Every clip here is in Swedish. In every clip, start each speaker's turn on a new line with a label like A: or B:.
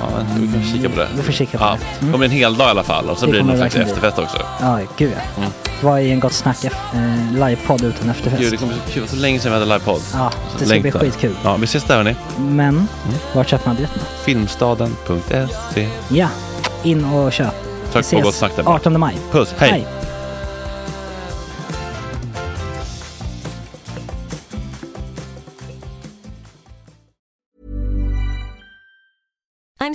A: Ja, vi kan kika på det.
B: Mm. Vi får kika på
A: Ja,
B: det. Mm.
A: det kommer bli en hel dag i alla fall och så
B: Det
A: blir det
B: kommer
A: någon slags
B: verkligen bli.
A: efterfest också.
B: Ja, gud ja.
A: Mm.
B: Vad är en Gott Snack eh, livepodd utan efterfest?
A: Gud, det kommer bli så kul. Det var så länge sedan vi hade livepodd.
B: Ja, det ska
A: Längtar. Mm.
B: bli skitkul.
A: Ja, vi ses där hörni.
B: Men, vart köper man biljetterna?
A: Filmstaden.se.
B: Ja, in och köp. Vi
A: Tack på gott snack där bara.
B: 18 maj.
A: Puss, hej!
B: Hej.
C: I'm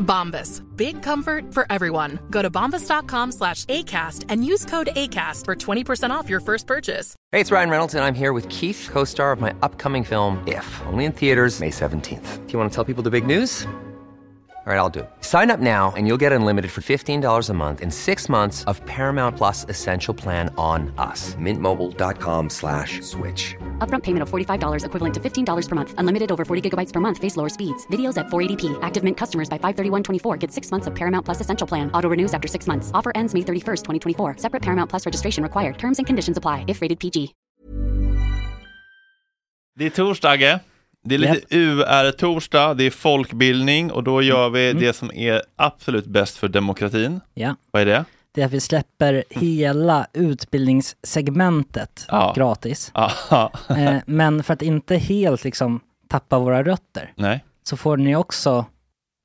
D: Bombas. Big comfort for everyone. Go to bombas.com slash ACAST and use code ACAST for 20% off your first purchase.
E: Hey, it's Ryan Reynolds, and I'm here with Keith, co star of my upcoming film, If, only in theaters, May 17th. Do you want to tell people the big news? All right, I'll do it. Sign up now and you'll get unlimited for $15 a month in six months of Paramount Plus Essential Plan on us. Mintmobile.com slash switch.
F: Upfront payment of $45 equivalent to $15 per month. Unlimited over 40 gigabytes per month. Face lower speeds. Videos at 480p. Active Mint customers by 531.24 get six months of Paramount Plus Essential Plan. Auto renews after six months. Offer ends May 31st, 2024. Separate Paramount Plus registration required. Terms and conditions apply if rated PG.
A: Det är torsdag, Agge. Det är lite
B: Japp.
A: UR-torsdag, det är folkbildning och då gör vi
B: Mm.
A: det som är absolut bäst för demokratin.
B: Ja,
A: Vad är det?
B: det är att vi släpper hela utbildningssegmentet
A: Ja.
B: gratis.
A: Aha.
B: Eh, men för att inte helt liksom tappa våra rötter
A: Nej.
B: så får ni också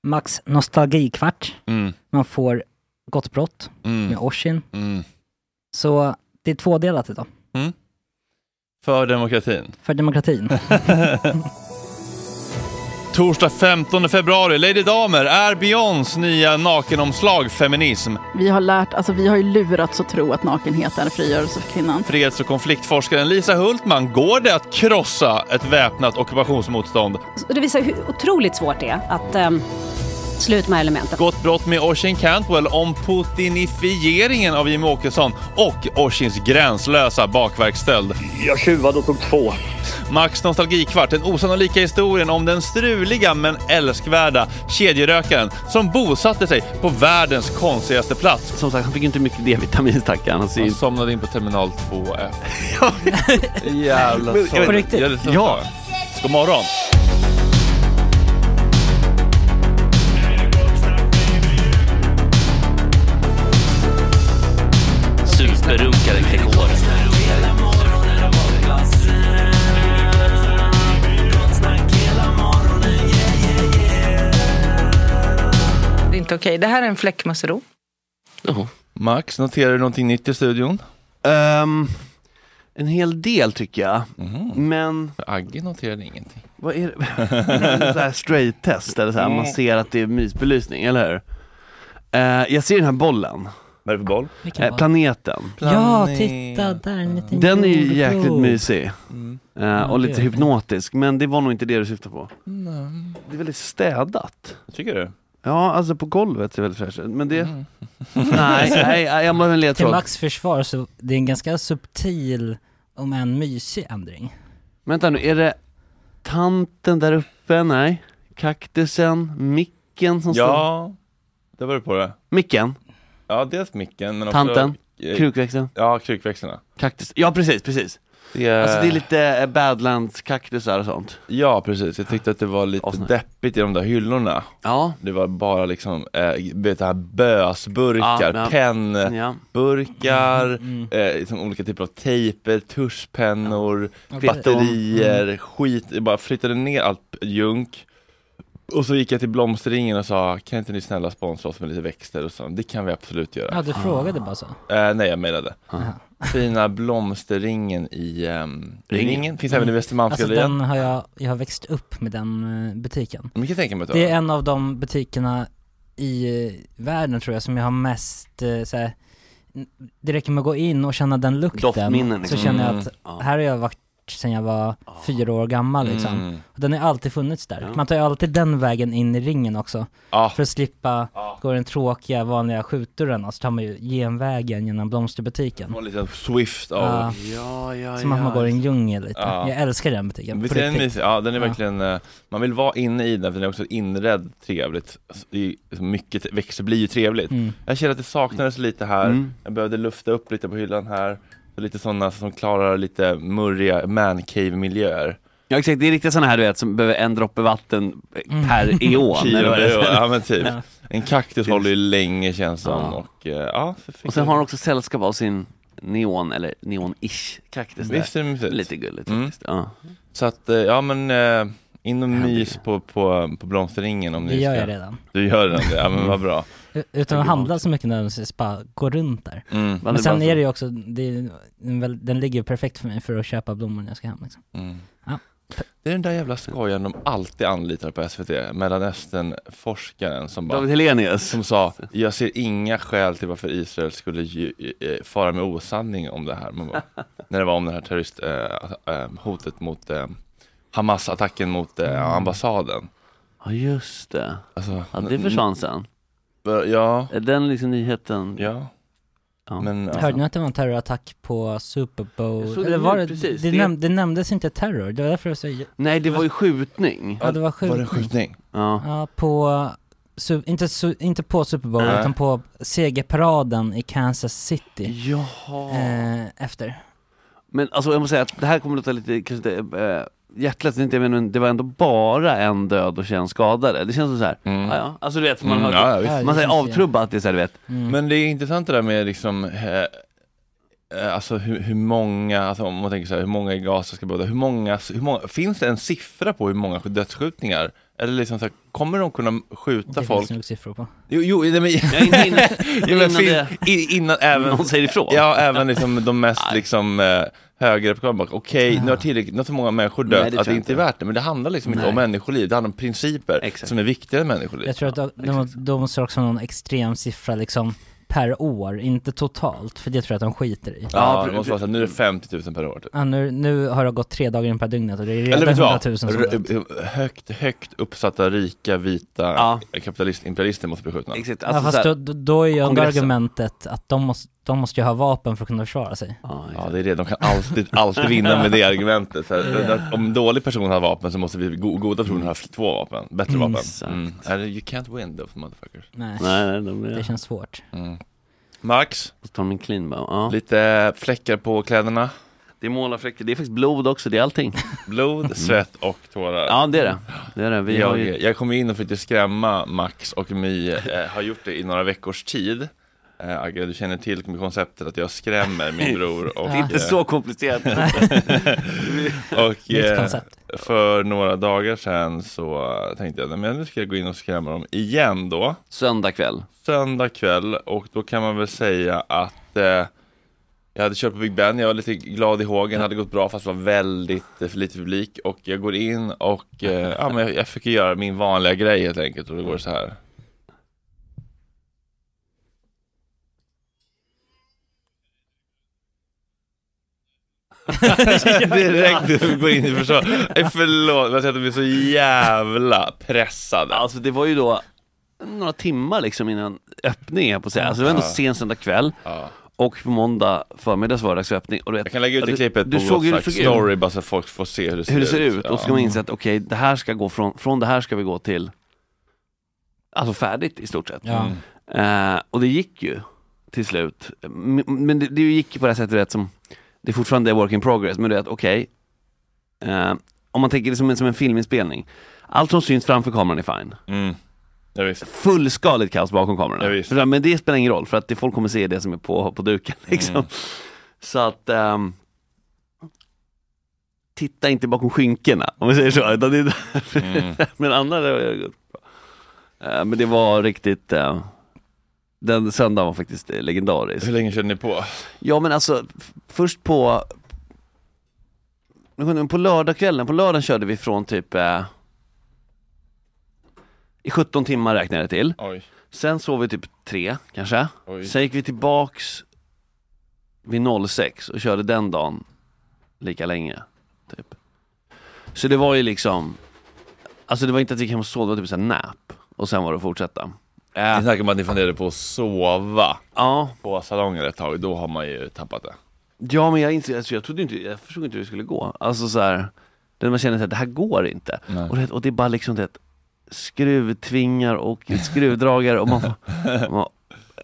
B: Max nostalgikvart.
A: Mm.
B: Man får Gott brott
A: Mm.
B: med Oshin.
A: Mm.
B: Så det är tvådelat idag.
A: För demokratin.
B: För demokratin.
A: Torsdag 15 februari. Lady Damer, är Beyoncés nya nakenomslag feminism?
G: Vi har lärt, alltså vi har ju lurats att tro att nakenhet är frigörelse för kvinnan.
A: Freds och konfliktforskaren Lisa Hultman, går det att krossa ett väpnat ockupationsmotstånd?
H: Och det visar hur otroligt svårt det är att ehm, slå ut de här elementen.
A: Gott brott med Oisin Cantwell om putinifieringen av Jimmie Åkesson och Oisins gränslösa bakverksstöld.
I: Jag tjuvade och tog två.
A: Max Nostalgikvart, den osannolika historien om den struliga men älskvärda kedjerökaren som bosatte sig på världens konstigaste plats.
J: Som sagt, han fick ju inte mycket D-vitamin stackaren. Han ser ju-
A: Han somnade in på terminal 2F. Jävla
J: Men-
A: sorg.
J: På riktigt?
A: Ja. det är så.
J: Ja.
A: God morgon.
K: Superrunkaren Gregor.
L: Det är inte okej. Det här är en fläckmussero.
A: Max, noterar du någonting nytt i studion?
J: Ehm, en hel del tycker jag. Men...
A: Mhm. Agge noterade ingenting.
J: Vad är det? det här straight test eller så här, man
A: Mm.
J: ser att det är mysbelysning, eller hur? Eh, jag ser den här bollen.
A: Vad är det för boll?
B: Vilken
J: Eh,
B: boll?
J: planeten.
B: Ja, titta där. en liten
J: Den är ju
B: jordglob.
J: jäkligt mysig. Eh, och
B: det
J: lite
B: är det.
J: hypnotisk, men det var nog inte det du syftade på.
A: Mm.
J: Det är väldigt städat.
A: Tycker du?
J: Ja, alltså på golvet ser det väldigt fräscht ut, men det... nej, nej, nej, jag måste en
B: Till
J: ledtråd.
B: Max försvar så det är en ganska subtil, om än mysig ändring.
J: Vänta nu, är det tanten där uppe? Nej. Kaktusen, micken som
A: Ja, det var du på det.
J: Micken?
A: Ja, dels micken men också...
J: Tanten?
A: eh,
J: Krukväxeln?
A: Ja, krukväxlarna.
J: Kaktus, ja precis, precis.
A: Det är-
J: Alltså det är lite eh, badlands-kaktusar och sånt.
A: Ja, precis. Jag tyckte att det var lite deppigt i de där hyllorna.
J: Ja.
A: Det var bara liksom, eh, vet det här bösburkar,
J: Ja, men-
A: pennburkar, eh, liksom olika typer av tejper, tuschpennor,
J: Mm. Ja.
A: batterier,
J: Mm.
A: skit. Jag bara flyttade ner allt junk. Och så gick jag till blomsteringen och sa, kan inte ni snälla sponsra oss med lite växter och sånt? Det kan vi absolut göra.
B: Ja, du frågade bara så.
A: Eh, nej, jag mejlade. Fina blomsterringen i ehm, ringen. Finns även i
B: Alltså
A: Västermalmsgallerian.
B: den har jag, jag har växt upp med den eh, butiken.
A: Men jag kan tänka mig att du
B: Det
A: har
B: är
A: den.
B: en av de butikerna i eh, världen tror jag som jag har mest eh, såhär, n- det räcker med att gå in och känna den lukten.
J: Doftminnen,
B: Så
J: liksom.
B: känner jag
J: Mm.
B: att här har jag varit sedan jag var fyra år gammal liksom.
A: Mm.
B: Och den har alltid funnits där. Man tar ju alltid den vägen in i ringen också. För att slippa gå den tråkiga vanliga skjutdörren och så tar man ju genvägen genom blomsterbutiken.
A: Det var lite swift av...
B: Ja.
J: Ja, ja,
B: Som att man går i en djungel lite.
A: Ja.
B: Jag älskar den butiken.
A: Visst
B: på
A: är den
B: riktigt.
A: mysig? Ja, den är
B: Ja.
A: verkligen, eh, man vill vara inne i den för den är också inredd trevligt. Alltså, det är ju- alltså, Mycket växter blir ju trevligt.
B: Mm.
A: Jag känner att det saknades lite här,
J: Mm.
A: jag behövde lufta upp lite på hyllan här. Så Lite sådana som klarar lite murriga mancave-miljöer.
J: Ja exakt, det är riktigt sådana här du vet som behöver en droppe vatten eh, per eon.
A: Kilo
J: eller vad det är.
A: per eon, ja men typ.
J: Ja.
A: En kaktus håller ju länge känns som.
J: Ja.
A: Och, eh, ja, för
J: Och sen har han också sällskap av sin neon, eller neon-ish kaktus där.
A: Visst är det mysigt?
J: Lite gulligt
A: Mm.
J: faktiskt. Ja.
A: Så att, eh, ja men eh, in och mys på, på, på blomsterringen om
B: Det
A: ni
B: gör
A: ska.
B: jag redan.
A: Du gör redan det? Ja men vad bra.
B: U- Utan att handla så mycket nödvändigtvis, bara gå runt där.
A: Mm.
B: Men sen är det ju också, det är, en väl- den ligger ju perfekt för mig för att köpa blommor när jag ska hem liksom.
A: Mm.
B: Ja.
A: Det är den där jävla skojaren de alltid anlitar på SVT, Mellanöstern-forskaren som bara
J: David Hellenius.
A: Som sa, jag ser inga skäl till varför Israel skulle ju, eh, fara med osanning om det här. Man bara, när det var om det här terroristhotet eh, eh, hotet mot eh, Hamas-attacken mot eh, ambassaden.
J: Mm. Ja just det.
A: Alltså,
J: Ja, det försvann sen.
A: Ja.
J: Är den liksom nyheten?
A: Ja. Men, alltså-
B: Hörde ni att det var en terrorattack på Super Bowl?
J: Alltså. Jag såg det
B: Eller var
J: nu,
B: det,
J: precis.
B: det,
J: Det-
B: näm- det nämndes inte terror, det var därför jag säger
J: Nej det var ju skjutning.
B: Ja, det var skjutning. Var det
A: skjutning?
J: Ja.
B: Ja, på, su, inte, su, inte på Super Bowl
J: Nej.
B: utan på segerparaden i Kansas City
J: Jaha.
B: eh, efter
J: Men alltså jag måste säga att det här kommer låta lite, kanske inte, eh, hjärtligt, inte, men det var ändå bara en död och en skadade. Det känns som så här, ja, ja. alltså du vet, man,
A: Mm, ja, ja,
J: har,
A: visst.
J: man säger
A: Ja, det känns ju-
J: avtrubbat, det är så här, du vet.
B: Mm.
A: Men det är intressant det där med liksom eh, eh, Alltså hur, hur många, alltså om man tänker så här, hur många i Gaza ska båda, hur många, hur många, finns det en siffra på hur många dödsskjutningar? Eller liksom så här, kommer de kunna skjuta
B: Det
A: folk?
B: finns nog siffror på
A: Jo, jo nej, men,
J: innan-
A: Jo, men
J: innan
A: fin-
J: det-
A: i- innan även
J: Någon säger ifrån.
A: Ja, även liksom de mest liksom eh, högerrepublikaner bara, okej, nu har tillräckligt, nu har så många människor dött
B: Nej, det
A: att det
B: tror jag
A: inte är värt det. Men det handlar liksom inte
B: Nej.
A: om människoliv, det handlar om principer som är viktigare än människoliv.
B: Jag tror att de, de, de måste också ha någon extrem siffra liksom per år, inte totalt, för det tror jag att de skiter i.
A: Ja, det måste vara så här, nu är det 50 000 per år typ.
B: Ja, nu, nu har det gått tre dagar in per dygnet och det är
A: Eller
B: redan
A: vet du vad?
B: 100 000 som dött.
A: R- Högt, högt uppsatta, rika, vita kapitalist, imperialister måste bli skjutna.
J: Exakt.
B: ja, fast då, då- då är ju ändå
A: Kongressen.
B: argumentet att de måste, de måste ju ha vapen för att kunna försvara sig.
A: Ja, det är det. De kan alltid, alltid vinna med det argumentet. Så här,
B: Ja.
A: att Om en dålig person har vapen så måste vi go- goda personer ha två vapen, bättre
B: Mm.
A: vapen.
B: Exakt.
A: Mm. Eller, You can't win those motherfuckers.
B: Nej. Det känns svårt.
A: Mm. Max?
J: Stormen Cleanbow, ja.
A: Lite eh, fläckar på kläderna.
J: Det är målarfläckar, det är faktiskt blod också, det är allting.
A: Blod, svett och tårar.
J: Mm. Ja, det är det. det, är det. Vi
A: jag,
J: har ju...
A: jag kom in och försökte skrämma Max och My, eh, har gjort det i några veckors tid. Eh, Agge, du känner till konceptet att jag skrämmer min bror och...
J: Det är inte
A: eh,
J: så komplicerat.
A: och
J: Nytt
A: eh,
J: koncept.
A: för några dagar sedan så tänkte jag, "Nej, men nu ska jag gå in och skrämma dem igen då.
J: Söndag kväll.
A: Söndag kväll och då kan man väl säga att eh, jag hade kört på Big Ben, jag var lite glad i hågen, hade gått bra fast var väldigt eh, för lite publik och jag går in och eh, ja, men jag, jag fick ju göra min vanliga grej helt enkelt och då går det så här. Direkt går in i försvar. Nej förlåt, men jag blev så jävla pressad.
J: Alltså det var ju då några timmar liksom innan öppning jag på att säga. Alltså det var ändå
A: Ja.
J: sen söndag kväll. Och på måndag förmiddag så var det dags för öppning. Och du vet,
A: Jag kan lägga ut
J: du,
A: det klippet
J: du
A: på
J: såg hur det
A: Whatsapp
J: såg ut.
A: story bara så att folk får se hur det ser,
J: hur det ser ut.
A: Ja.
J: Och så ska man inse att okej, det här ska gå från, från det här ska vi gå till, alltså färdigt i stort sett.
A: Ja.
J: Eh, och det gick ju till slut. Men, men det, det gick ju på det här sättet rätt som, det är fortfarande är work in progress, men det är att okej, eh, om man tänker det som en, som en filminspelning, allt som syns framför kameran är fine.
A: Mm. Ja, visst.
J: Fullskaligt kaos bakom kamerorna.
A: Ja, visst.
J: För- men det spelar ingen roll, för att det, folk kommer se det som är på, på duken. Liksom.
A: Mm.
J: Så att ehm, titta inte bakom skynkena, om vi säger så. Utan det är därför-
A: Mm.
J: men annars har det gått bra. Eh, Men det var riktigt, eh, den söndagen var faktiskt eh, legendarisk.
A: Hur länge körde ni på?
J: Ja men alltså, f- först på, nu kommer jag ihåg, på lördagskvällen, på lördagen körde vi från typ, eh, i 17 timmar räknade jag det till.
A: Oj.
J: Sen sov vi typ tre kanske.
A: Oj.
J: Sen gick vi tillbaks vid 06 och körde den dagen lika länge. Typ. Så det var ju liksom, alltså det var inte att vi gick hem och sov, det var typ såhär nap. Och sen var det att fortsätta.
A: Ni snackade om att ni funderade på att sova
J: ja.
A: på salongen ett tag, då har man ju tappat det.
J: Ja men jag insåg, alltså, jag trodde inte, jag förstod inte hur det skulle gå. Alltså så här, det man känner att det här går inte.
A: Nej.
J: Och det, och det är bara liksom det skruvtvingar och skruvdragare och man, får, man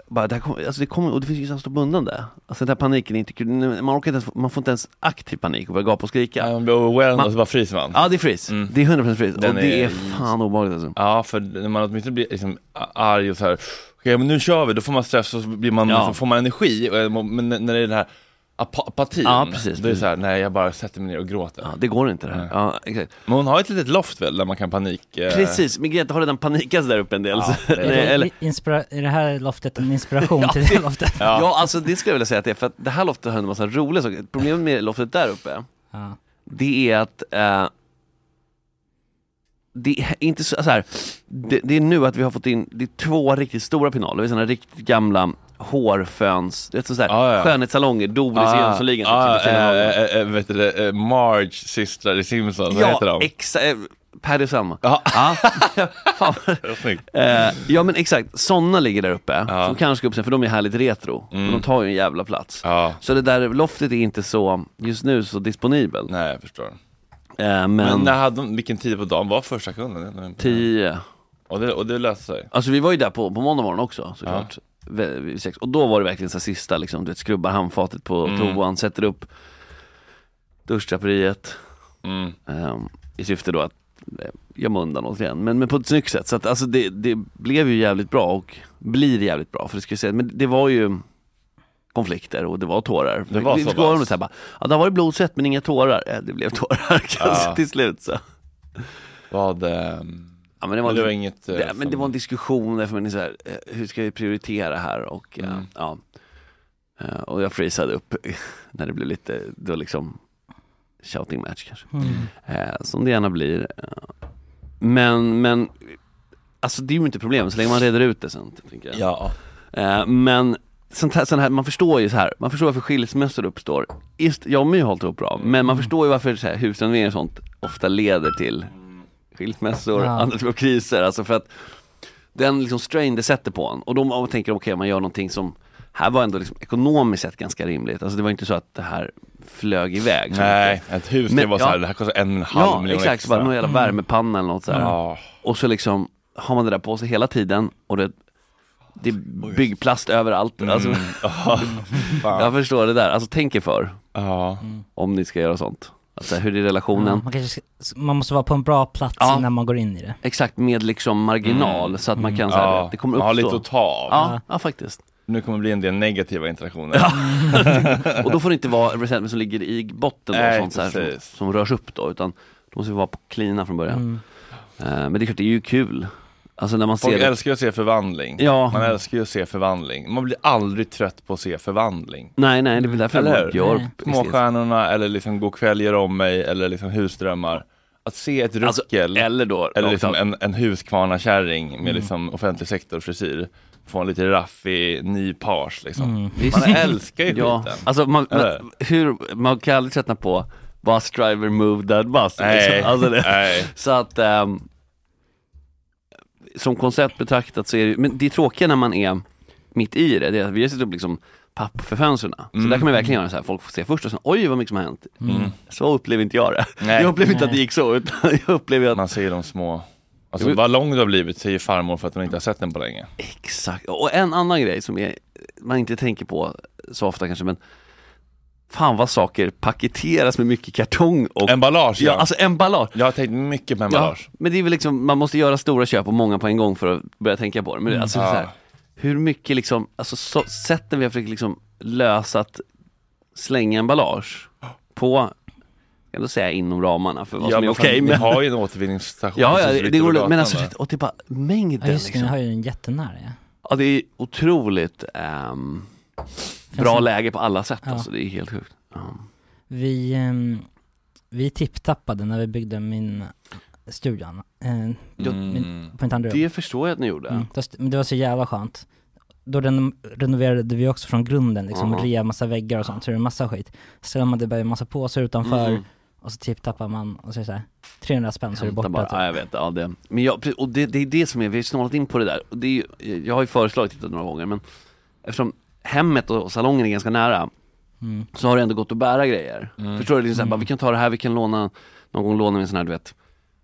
J: bara, det här kommer, alltså det kommer, och det finns ju så bundande. Alltså den här paniken är inte kul, Nej, man orkar inte ens, man får inte ens aktiv panik och börja gapa och skrika.
A: Man blir overwhelmed och så bara fryser man.
J: Ja det är freeze,
A: Mm.
J: det är 100% freeze och det är, fan obehagligt alltså.
A: Ja, för när man åtminstone blir liksom arg och så här, okej men nu kör vi, då får man stress och så blir man, liksom,
J: Ja.
A: får man energi, Och- eh, men när det är den här apa- apatin,
J: Ja, precis,
A: då är det
J: precis.
A: så här, nej jag bara sätter mig ner och gråter.
J: Ja, det går inte det här.
A: Nej.
J: Ja, exakt.
A: Men hon har ett litet loft väl, där man kan panik... eh,
J: Precis, men Greta har redan panikats där uppe en del.
A: Ja, det är-
J: Nej, eller-
B: Inspira- är det här loftet en inspiration till det loftet?
J: Ja. alltså det skulle jag vilja säga att det är, för att det här loftet har en massa roliga saker. Problemet med loftet där uppe,
B: Ja.
J: det är att eh, det är inte så, så här, det, det är nu att vi har fått in, det är två riktigt stora pinaler, sådana riktigt gamla hårföns, det är så här,
A: Ja, ja.
J: skönhetssalonger, Doris
A: Ah,
J: ah, Jönssonligan. som
A: ah,
J: sitter i fina
A: eh,
J: hagar.
A: eh, eh, vet du det, eh, Marge systrar i Simpsons, vad heter
J: Ja,
A: de?
J: exakt, Paddy och Selma.
A: Ja.
J: Fan, vad-
A: Snyggt.
J: Eh, ja men exakt, sådana ligger där uppe, som kanske ska upp sen, för de är härligt retro.
A: Mm.
J: Men de tar ju en jävla plats. Så det där loftet är inte så, just nu, så disponibel.
A: Nej, jag förstår.
J: Eh, men,
A: Men när hade de, vilken tid på dagen var första kunden?
J: tio,
A: Och det, och det löste sig?
J: alltså vi var ju där på, på måndag morgon också såklart. Vä- vid sex. Och då var det verkligen så här sista, liksom, du vet, skrubbar handfatet på
A: Mm.
J: toan, sätter upp duschdraperiet.
A: Mm.
J: Ehm, I syfte då att eh, gömma undan återigen, men, men på ett snyggt sätt. Så att, alltså, det, det blev ju jävligt bra och blir jävligt bra. För det ska jag säga. Men det var ju konflikter och det var tårar.
A: Det var
J: vi,
A: så
J: vi skojade om
A: pass.
J: det så här, bara, ja, det har varit blod, svett men inga tårar. Eh, det blev tårar kanske
A: Ja.
J: till slut. Så.
A: Vad... ehm,
J: Ja, men det var,
A: det var inget... eh,
J: det, men det
A: som- Mm.
J: var en diskussion, därför man är så här, eh, hur ska vi prioritera här och eh, ja. Eh, och jag freezade upp när det blev lite, det var liksom shouting match kanske.
I: Mm.
J: Eh, som det gärna blir. Eh, Men, men alltså det är ju inte problem så länge man reder ut det sen. Tänker jag.
A: Ja.
J: Eh, men sånt här, sånt här, man förstår ju så här, man förstår varför skilsmässor uppstår. Just, jag och My har hållit ihop bra, men man förstår ju varför så här, husrenovering och sånt ofta leder till skilsmässor,
A: Ja.
J: andra typer av kriser. Alltså för att den liksom strain det sätter på en. Och då man tänker, okej man gör någonting som, här var ändå liksom ekonomiskt sett ganska rimligt. Alltså det var inte så att det här flög iväg. så
A: Nej,
J: mycket.
A: ett hus kan ju vara så här, det här kostar en och en halv
J: ja,
A: miljon
J: exakt,
A: extra.
J: bara någon jävla
A: Mm.
J: värmepanna eller något så här.
A: Ja.
J: Och så liksom har man det där på sig hela tiden och det, det är byggplast överallt. Alltså,
A: Mm. Ja, fan.
J: jag förstår det där, alltså tänk er för.
B: Mm.
J: Om ni ska göra sånt. Alltså, hur är relationen?
B: Ja, man, kanske, ska- man måste vara på en bra plats
J: Ja.
B: innan man går in i det.
J: Exakt, med liksom marginal så att man kan så här, det kommer uppstå.
A: Man har Mm. lite att ta av.
J: Ja, ja faktiskt.
A: Nu kommer det bli en del negativa interaktioner.
J: och då får det inte vara resentment som ligger i botten då,
A: Nej,
J: sånt så här, som,
A: precis.
J: som rörs upp då, utan då måste vi vara på klina från början.
A: Mm.
J: Eh, men det är klart, det är ju kul. Alltså när man
A: Folk
J: ser det-
A: älskar ju att se förvandling.
J: Ja.
A: Man älskar ju att se förvandling. Man blir aldrig trött på att se förvandling.
J: Nej, nej, det är väl därför
A: Eller hur?
J: man gör
A: Nej.
J: precis.
A: Småstjärnorna eller liksom Gå kväll gör om mig eller liksom Husdrömmar. Att se ett ruckel.
J: Alltså, eller då.
A: Eller liksom en, en Huskvarna-kärring med
J: Mm.
A: liksom offentlig sektor-frisyr. Få en lite raffig ny page liksom. Man
J: Visst.
A: älskar ju
J: ja.
A: skiten.
J: Alltså man,
A: Eller?
J: man, hur, man kan aldrig tröttna på Bus driver move that bus.
A: Nej.
J: Liksom. Alltså det,
A: Nej.
J: Så att ehm, som koncept betraktat så är det, men det är tråkiga när man är mitt i det, det är att vi har satt upp liksom papp för fönstren. Så
A: Mm.
J: där kan man verkligen göra så här, folk får se först och sen oj vad mycket som har hänt.
A: Mm.
J: Så upplever inte jag det.
A: Nej.
J: Jag upplever inte att det gick så, utan jag upplever att
A: Man ser ju de små.
J: Jo.
A: Alltså vad lång du har blivit säger farmor för att hon inte har sett den på länge.
J: Exakt, och en annan grej som är, man inte tänker på så ofta kanske men Fan vad saker paketeras med mycket kartong och
A: Emballage
J: ja. alltså emballage.
A: Jag har tänkt mycket på emballage.
J: Ja, men det är väl liksom, man måste göra stora köp och många på en gång för att börja tänka på det. Men det, är alltså,
A: Mm.
J: så
A: Ja.
J: här, hur mycket liksom, alltså så, sätten vi har försökt liksom lösa att slänga emballage på, jag kan då säga inom ramarna för vad som är
A: men
J: okej.
A: fan, ni
J: men...
A: har ju en återvinningsstation.
J: Ja,
A: precis
J: ja det
A: vid
J: går
A: gatan
J: men alltså
A: där.
J: shit, och det är bara mängden
B: Ja just det,
J: liksom.
B: nu har jag ju en jättenära ja.
J: Ja det är otroligt ehm, bra
B: en-
J: läge på alla sätt
B: Ja.
J: alltså, det är helt sjukt. Ja.
B: Vi, ehm, vi tipptappade när vi byggde min studion, eh, min, på mitt andra rum.
J: Mm. Det förstår jag att ni gjorde.
B: Mm, fast- Men det var så jävla skönt. Då reno- renoverade vi också från grunden liksom,
J: Aha.
B: rev massa väggar och sånt, så det är massa skit. Slämmade bara en massa påsar utanför,
J: Mm.
B: och så tipptappar man och så är det så här, 300 spänn så är
J: Hämta
B: det borta.
J: bara,
B: typ.
J: ja, jag vet, ja, det. Men jag, precis, och det, det är det som är, vi har snålat in på det där. Och det är, ju- jag har ju föreslagit det några gånger men eftersom hemmet och salongen är ganska nära
B: Mm.
J: så har det ändå gått att bära grejer.
A: Mm.
J: Förstår du? Liksom så här, bara, vi kan ta det här, vi kan låna, någon gång låna vi en sån här du vet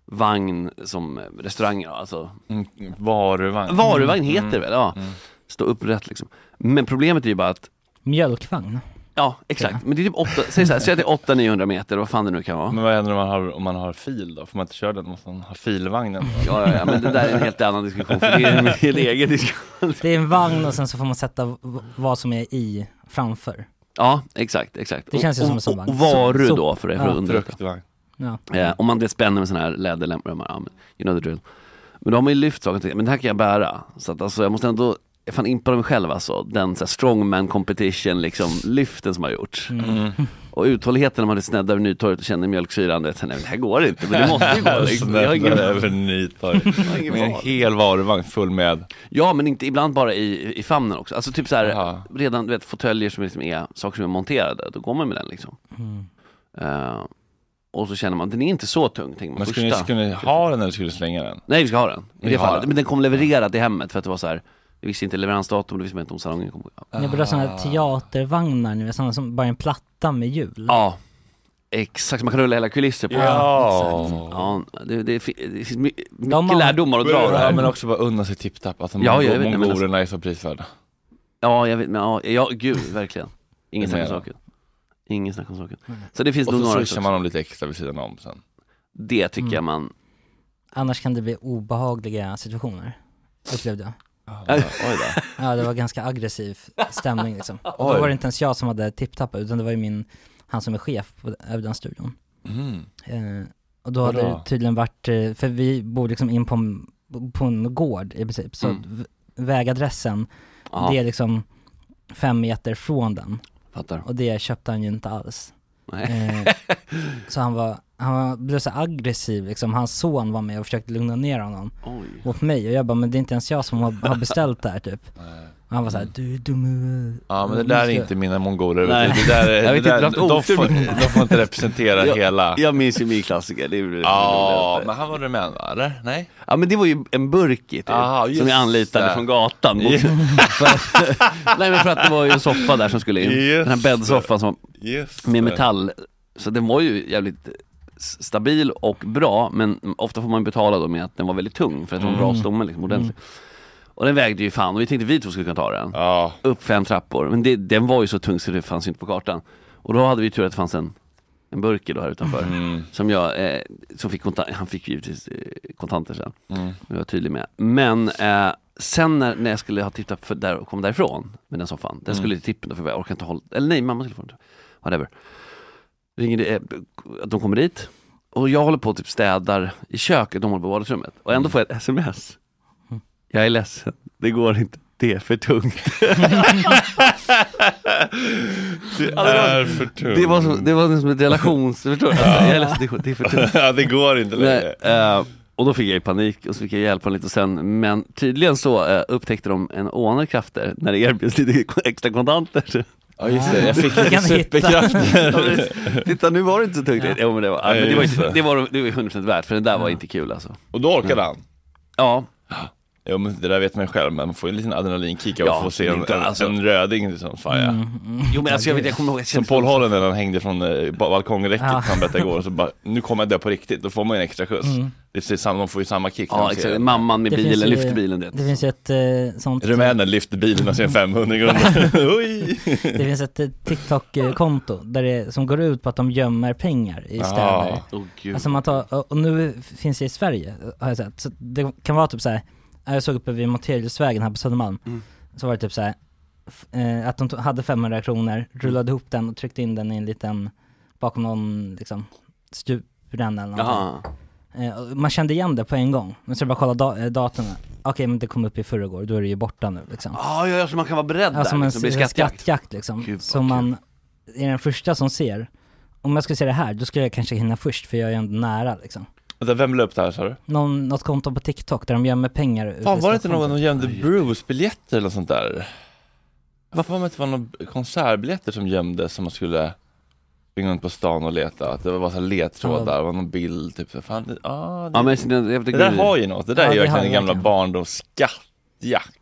J: vagn som eh, restauranger har, alltså
A: Mm, varuvagn.
J: varuvagn heter det väl, ja.
A: Mm.
J: Stå upprätt liksom. Men problemet är ju bara att
B: Mjölkvagn.
J: Ja, exakt. Men det är typ åtta, säg så här, säg att det är 800-900 meter, vad fan det nu kan vara.
A: Men vad händer om man, har, om man har fil då? Får man inte köra den? Måste man ha filvagnen? då?
J: Ja, ja, ja, men det där är en helt annan diskussion, för det är en helt egen diskussion.
B: Det är en vagn och sen så får man sätta v- vad som är i framför.
J: Ja, exakt, exakt.
B: Det känns ju
J: Och-
B: som en sån
J: och-
B: vagn.
J: Och varu
B: Så- så-
J: då, för det, för
B: ja.
J: att underlätta.
A: Fruktvagn.
B: Ja.
J: Eh, om man det spänner med sån här läderlemmar, ja, men you know the drill. Men då har man ju lyft saker och tänkt, men det här kan jag bära. Så att alltså, jag måste ändå, jag är fan impar mig själv alltså. Den så här, strongman competition, liksom lyften som har gjorts.
A: Mm.
J: Och uthålligheten när man är snedd över Nytorget och känner mjölksyran, det, är så här, nej, men det här går inte, men det måste ju gå. Liksom. Jag
A: Snälla,
J: har ingen-
A: det är väl Nytorg.
J: ingen
A: Med en
J: val.
A: hel varuvagn full med.
J: Ja men inte, ibland bara i, i famnen också. Alltså typ så här, redan du vet fåtöljer som liksom är saker som är monterade, då går man med den liksom.
B: Mm.
J: Eh, och så känner man, den är inte så tung, tänker man
A: Men skulle ni,
J: första.
A: skulle ni ha den eller skulle ni slänga den?
J: Nej vi ska ha den, i
A: Ni
J: det
A: har
J: fallet.
A: den.
J: Men den kom levererad till hemmet för att det var så här, vi visste inte leveransdatum, det visste man inte om salongen kom.
B: Ni borde ha
J: Ah.
B: sådana här teatervagnar nu, sådana som bara är en platta med hjul.
J: Ja, exakt, man kan rulla hela kulisser på
B: Ja,
J: exakt. ja det, det, fi- det finns my, mycket lärdomar att dra
A: Ja,
J: där.
A: men också bara unna sig tipptapp. Alltså,
J: Ja,
A: ja,
J: jag vet, men alltså-
A: mongorerna är så prisvärda.
J: Ja, jag vet, men ja, ja gud, verkligen. Inget snack om
A: Nej, ja.
J: saken. Inget snack om saken.
A: Mm.
J: Så det finns
A: Och
J: nog
A: så
J: några
A: swishar man dem lite extra vid sidan om sen.
J: Det tycker jag man,
B: Mm. Annars kan det bli obehagliga situationer, upplevde jag.
J: Oj
A: då.
B: Ja, det var ganska aggressiv stämning liksom. Och då
A: Oj.
B: var det inte ens jag som hade tipptappat, utan det var ju min, han som är chef på, över den studion.
A: Mm.
B: Eh, och då hade
A: Vadå?
B: det tydligen varit, eh, för vi bor liksom in på en, på en gård i princip, så
J: Mm.
B: v- vägadressen,
J: Ja.
B: det är liksom fem meter från den.
J: Fattar.
B: Och det köpte han ju inte alls.
J: Nej.
B: Eh, så han var, han var, blev så aggressiv liksom, hans son var med och försökte lugna ner honom mot mig och jag bara, men det är inte ens jag som har, har beställt det här typ. Och han var såhär, du är dum i huvudet."
A: Mm. Ja men det
B: Och
A: där är
B: ska-
A: inte mina mongoler.
J: Nej.
A: Det där, är-
J: Jag vet
A: det där,
J: inte, du har
A: de,
J: haft otur
A: får,
J: med dem.
A: de får inte representera
J: Jag-
A: hela.
J: Jag minns ju min typ klassiker, det gjorde
A: Ja, men han var rumän va? Eller? Nej?
J: Ja men det var ju en burki typ,
A: Aha, just
J: som jag anlitade
A: det.
J: från gatan. Mot, för, nej men för att det var ju en soffa där som skulle in.
A: Just
J: den här bäddsoffan som
A: det. Just
J: med
A: det.
J: metall. Så den var ju jävligt s- stabil och bra men ofta får man betala då med att den var väldigt tung för att det var en bra
A: Mm.
J: stomme liksom, ordentlig. Och den vägde ju fan och vi tänkte vi två skulle kunna ta den. Upp fem trappor. Men det, den var ju så tung så det fanns ju inte på kartan. Och då hade vi tur att det fanns en en burk då här utanför.
A: Mm.
J: Som jag, eh, som fick kontan- han fick givetvis eh, kontanter sen.
A: Mm.
J: Jag var tydlig med. Men eh, sen när, när jag skulle ha tippat för där och kom därifrån med den soffan. Den
A: Mm.
J: skulle till tippen då för jag orkar inte hålla, eller nej mamma skulle få den. tror jag. Whatever. Ringer det, eh, att de kommer dit. Och jag håller på och typ städar i köket, de håller på i vardagsrummet. Och
A: Mm.
J: ändå får jag ett sms. Jag är ledsen, det går inte. Det är för tungt.
A: Det
J: Ja, det var-
A: är för tungt.
J: Det var som, det var som ett relations... förstår du? Alltså,
A: Ja.
J: jag är ledsen, det, det är för tungt.
A: Ja, det går inte längre.
J: Nej, eh, och då fick jag ju panik och så fick jag hjälpa honom lite och sen, men tydligen så eh, upptäckte de en ordnade krafter när det erbjöds lite extra kontanter.
A: Ja, just det. Jag fick lite
J: Kan hitta.
A: superkrafter.
J: Ja, men Titta nu var det inte så tungt.
A: Ja.
J: Jo men det var, ja,
A: Ja,
J: men det var,
A: just
J: inte,
A: det.
J: det var, det var 100% värt för den där var inte kul alltså.
A: Och då orkade han?
J: Ja.
A: Jo men det där vet man ju själv, men man får ju en liten adrenalinkick av
J: Ja,
A: att få se
J: men
A: en,
J: inte-
A: en,
J: alltså-
A: en röding liksom färga.
J: Mm, mm. Jo, men alltså, jag vet- jag kommer ihåg, jag
A: Som
J: kände-
A: Paul Holland när han hängde från eh, ba- balkongräcket
J: Ja.
A: som han berättade igår, så bara, nu kommer jag dö på riktigt, då får man ju en extra skjuts.
B: Mm.
A: Det är precis samma, de får ju samma kick när
J: Ja,
A: de ser
J: exakt.
A: det.
J: Mamman med
B: Det finns
J: bilen,
B: ju-
J: lyfter bilen det.
B: Det finns ju ett eh, sånt
A: Rumänen lyfter bilen och ser en 500 under. Oj!
B: Det finns ett eh, TikTok-konto där det, som går ut på att de gömmer pengar i
A: Ah,
B: städer.
A: åh gud.
B: alltså man tar, och och nu finns det i Sverige, har jag sett. Så det kan vara typ såhär, jag såg uppe vid Monteliusvägen här på Södermalm,
A: Mm.
B: så var det typ såhär, f- eh, att de to- hade 500 kronor, rullade ihop den och tryckte in den i en liten, bakom någon liksom, stupränna eller någonting. Eh, och Man kände igen det på en gång, men så bara kolla da- eh, datorn, okej men det kom upp i förrgår, då är det ju borta nu liksom.
A: Ah,
J: Ja, ja, ja, så man kan vara beredd
B: Ja, som
J: där.
B: en
J: Liksom, det blir
B: skattjakt,
J: skattjakt.
B: liksom.
J: Gud, vad
B: så man är den första som ser. Om jag skulle se det här, då skulle jag kanske hinna först för jag är ju ändå nära liksom.
A: Vänta, Vem la upp det här sa du?
B: Någon, något konto på TikTok där de gömmer pengar ute i
A: Fan var det inte
B: Stockholm.
A: någon som gömde Bruce-biljetter eller något sånt där? Varför var det inte var någon konsertbiljetter som gömdes som man skulle springa runt på stan och leta? Att det var så här ledtrådar, det var någon bild typ så här, fan, det, ah, det,
J: Ja, men det- det-
A: det där har ju något, det där
J: Ja,
A: är
J: det
A: ju
J: har
A: verkligen den
J: det
A: gamla
J: verkligen.
A: barndomsskattjakt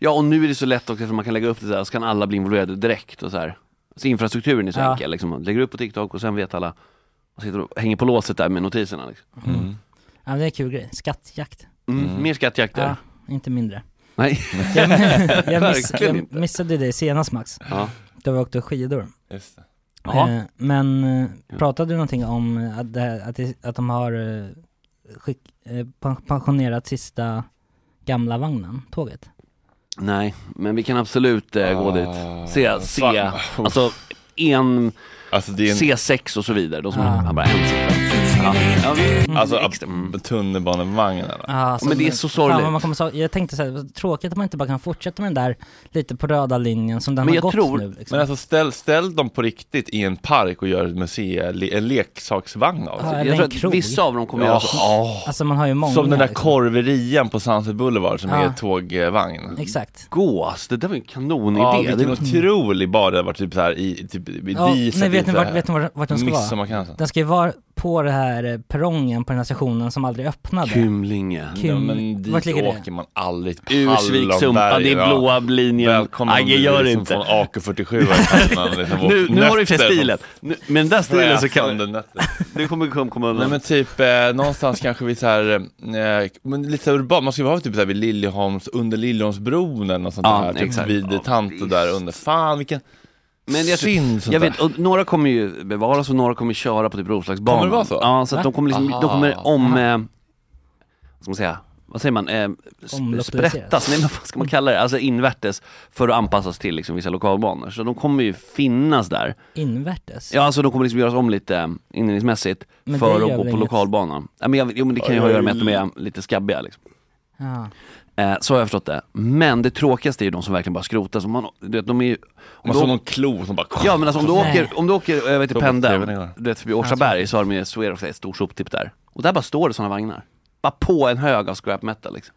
J: Ja, och nu är det så lätt också för man kan lägga upp det där och så kan alla bli involverade direkt och så här. Så infrastrukturen är så
A: Ja.
J: enkel, liksom. man lägger upp på TikTok och sen vet alla och sitter och hänger på låset där med notiserna. Liksom.
A: Mm.
B: Ja, men det är en kul grej. Skattjakt.
J: Mm. Mer skattjakter.
B: Ja, inte mindre.
J: Nej.
B: jag, jag, miss,
J: Verkligen
B: jag
J: inte.
B: missade det senast Max.
J: Ja.
B: Då vi åkte skidor.
A: Just det.
J: Jaha.
B: Eh, men eh, pratade du någonting om eh, att, det, här- att, det, att de har eh, skick, eh, pen- pensionerat sista gamla vagnen, tåget?
J: Nej, men vi kan absolut eh, gå
A: Ah,
J: dit. Se, se,
A: fan. Alltså,
J: alltså en,
A: det är en-
J: C6 och så vidare. De som
A: Ah.
J: har bara en siffra. Ja. Ja.
A: Alltså ab- tunnelbanevagnen
B: Ja, som-
J: men det är så sorgligt.
B: Fan, vad man kommer så, jag tänkte såhär, vad tråkigt att man inte bara kan fortsätta med den där lite på röda linjen som den har gått nu liksom.
A: Men alltså ställ, ställ dem på riktigt i en park och gör ett museum, en leksaksvagn av
B: Ja, eller Jag tror en att krog. vissa av dem kommer
A: Ja.
B: göra så.
A: Åh.
B: Alltså, man har ju många,
A: Som den där
B: liksom.
A: korverian på Sunset Boulevard som
B: Ja.
A: är en tågvagn
B: Exakt.
J: Gås, det där var ju en kanonidé.
A: Ja, vilken
J: Det-
A: otrolig bar det hade varit typ så här i, typ, i
B: Ja,
A: diset.
B: nej, vet ni
A: så här
B: vart, vet ni vart, vart den ska vara?
A: Midsommarkransen.
B: Den ska ju vara på det här eh, perrongen på den här stationen som aldrig öppnade.
J: Kymlinge.
B: Kym...
A: Ja, men dit
B: vart ligger det?
A: åker man aldrig.
J: Ursvik, Sumpa, det är
A: Hallonberg,
J: blåa
A: ja.
J: linjen.
A: Välkommen
J: Agge,
A: om du
J: gör
A: är
J: det
A: liksom
J: inte.
A: från AK47. här, man liksom
J: Nu,
A: åker
J: nu har du för
A: nötter
J: stilen. Nu, med den där stilen så kan
A: Fräsande nötter.
J: Du kommer kom, komma undan.
A: Nej men typ eh, någonstans kanske vi så här, eh, men lite så här urban, man skulle vara typ så här vid Liljeholms, under Liljeholmsbron eller något sånt
J: Ja,
A: där, typ
J: exakt.
A: vid Tanto där under. Fan vilken
J: Men jag,
A: synd sånt
J: jag
A: där.
J: vet, och några kommer ju bevaras och några kommer köra på typ Roslagsbanan.
A: Kommer det vara så? Ah.
J: Ja, så att de
A: Va?
J: kommer, liksom, de
A: Aha.
J: kommer om, eh, vad ska man säga, vad säger man, eh, sp-
B: Omlokaliseras.
J: sprättas, nej men vad ska man kalla det, alltså invärtes för att anpassas till liksom, vissa lokalbanor. Så de kommer ju finnas där.
B: Invärtes?
J: Ja, alltså de kommer liksom göras om lite eh, inredningsmässigt
B: Men det
J: för
B: gör
J: att gå
B: väl
J: på
B: inget.
J: lokalbanan. Ja, men jag, jo men det kan ju
B: Ja,
J: ha att
B: jag-
J: göra med att de är lite skabbiga liksom.
B: Ja.
J: Eh, så har jag förstått det. Men det tråkigaste är ju de som verkligen bara skrotas. Om man, du vet, de är ju, om
A: Man såg någon klo som bara...
J: Ja men alltså om du åker, om du åker jag vet,
A: Såg
J: i
A: på
J: pendeln,
A: TV:n igår.
J: du vet förbi Årstaberg så har de ju Swerox, ett stor soptipp där. Och där bara står det sådana vagnar. Bara på en hög av scrap metal liksom.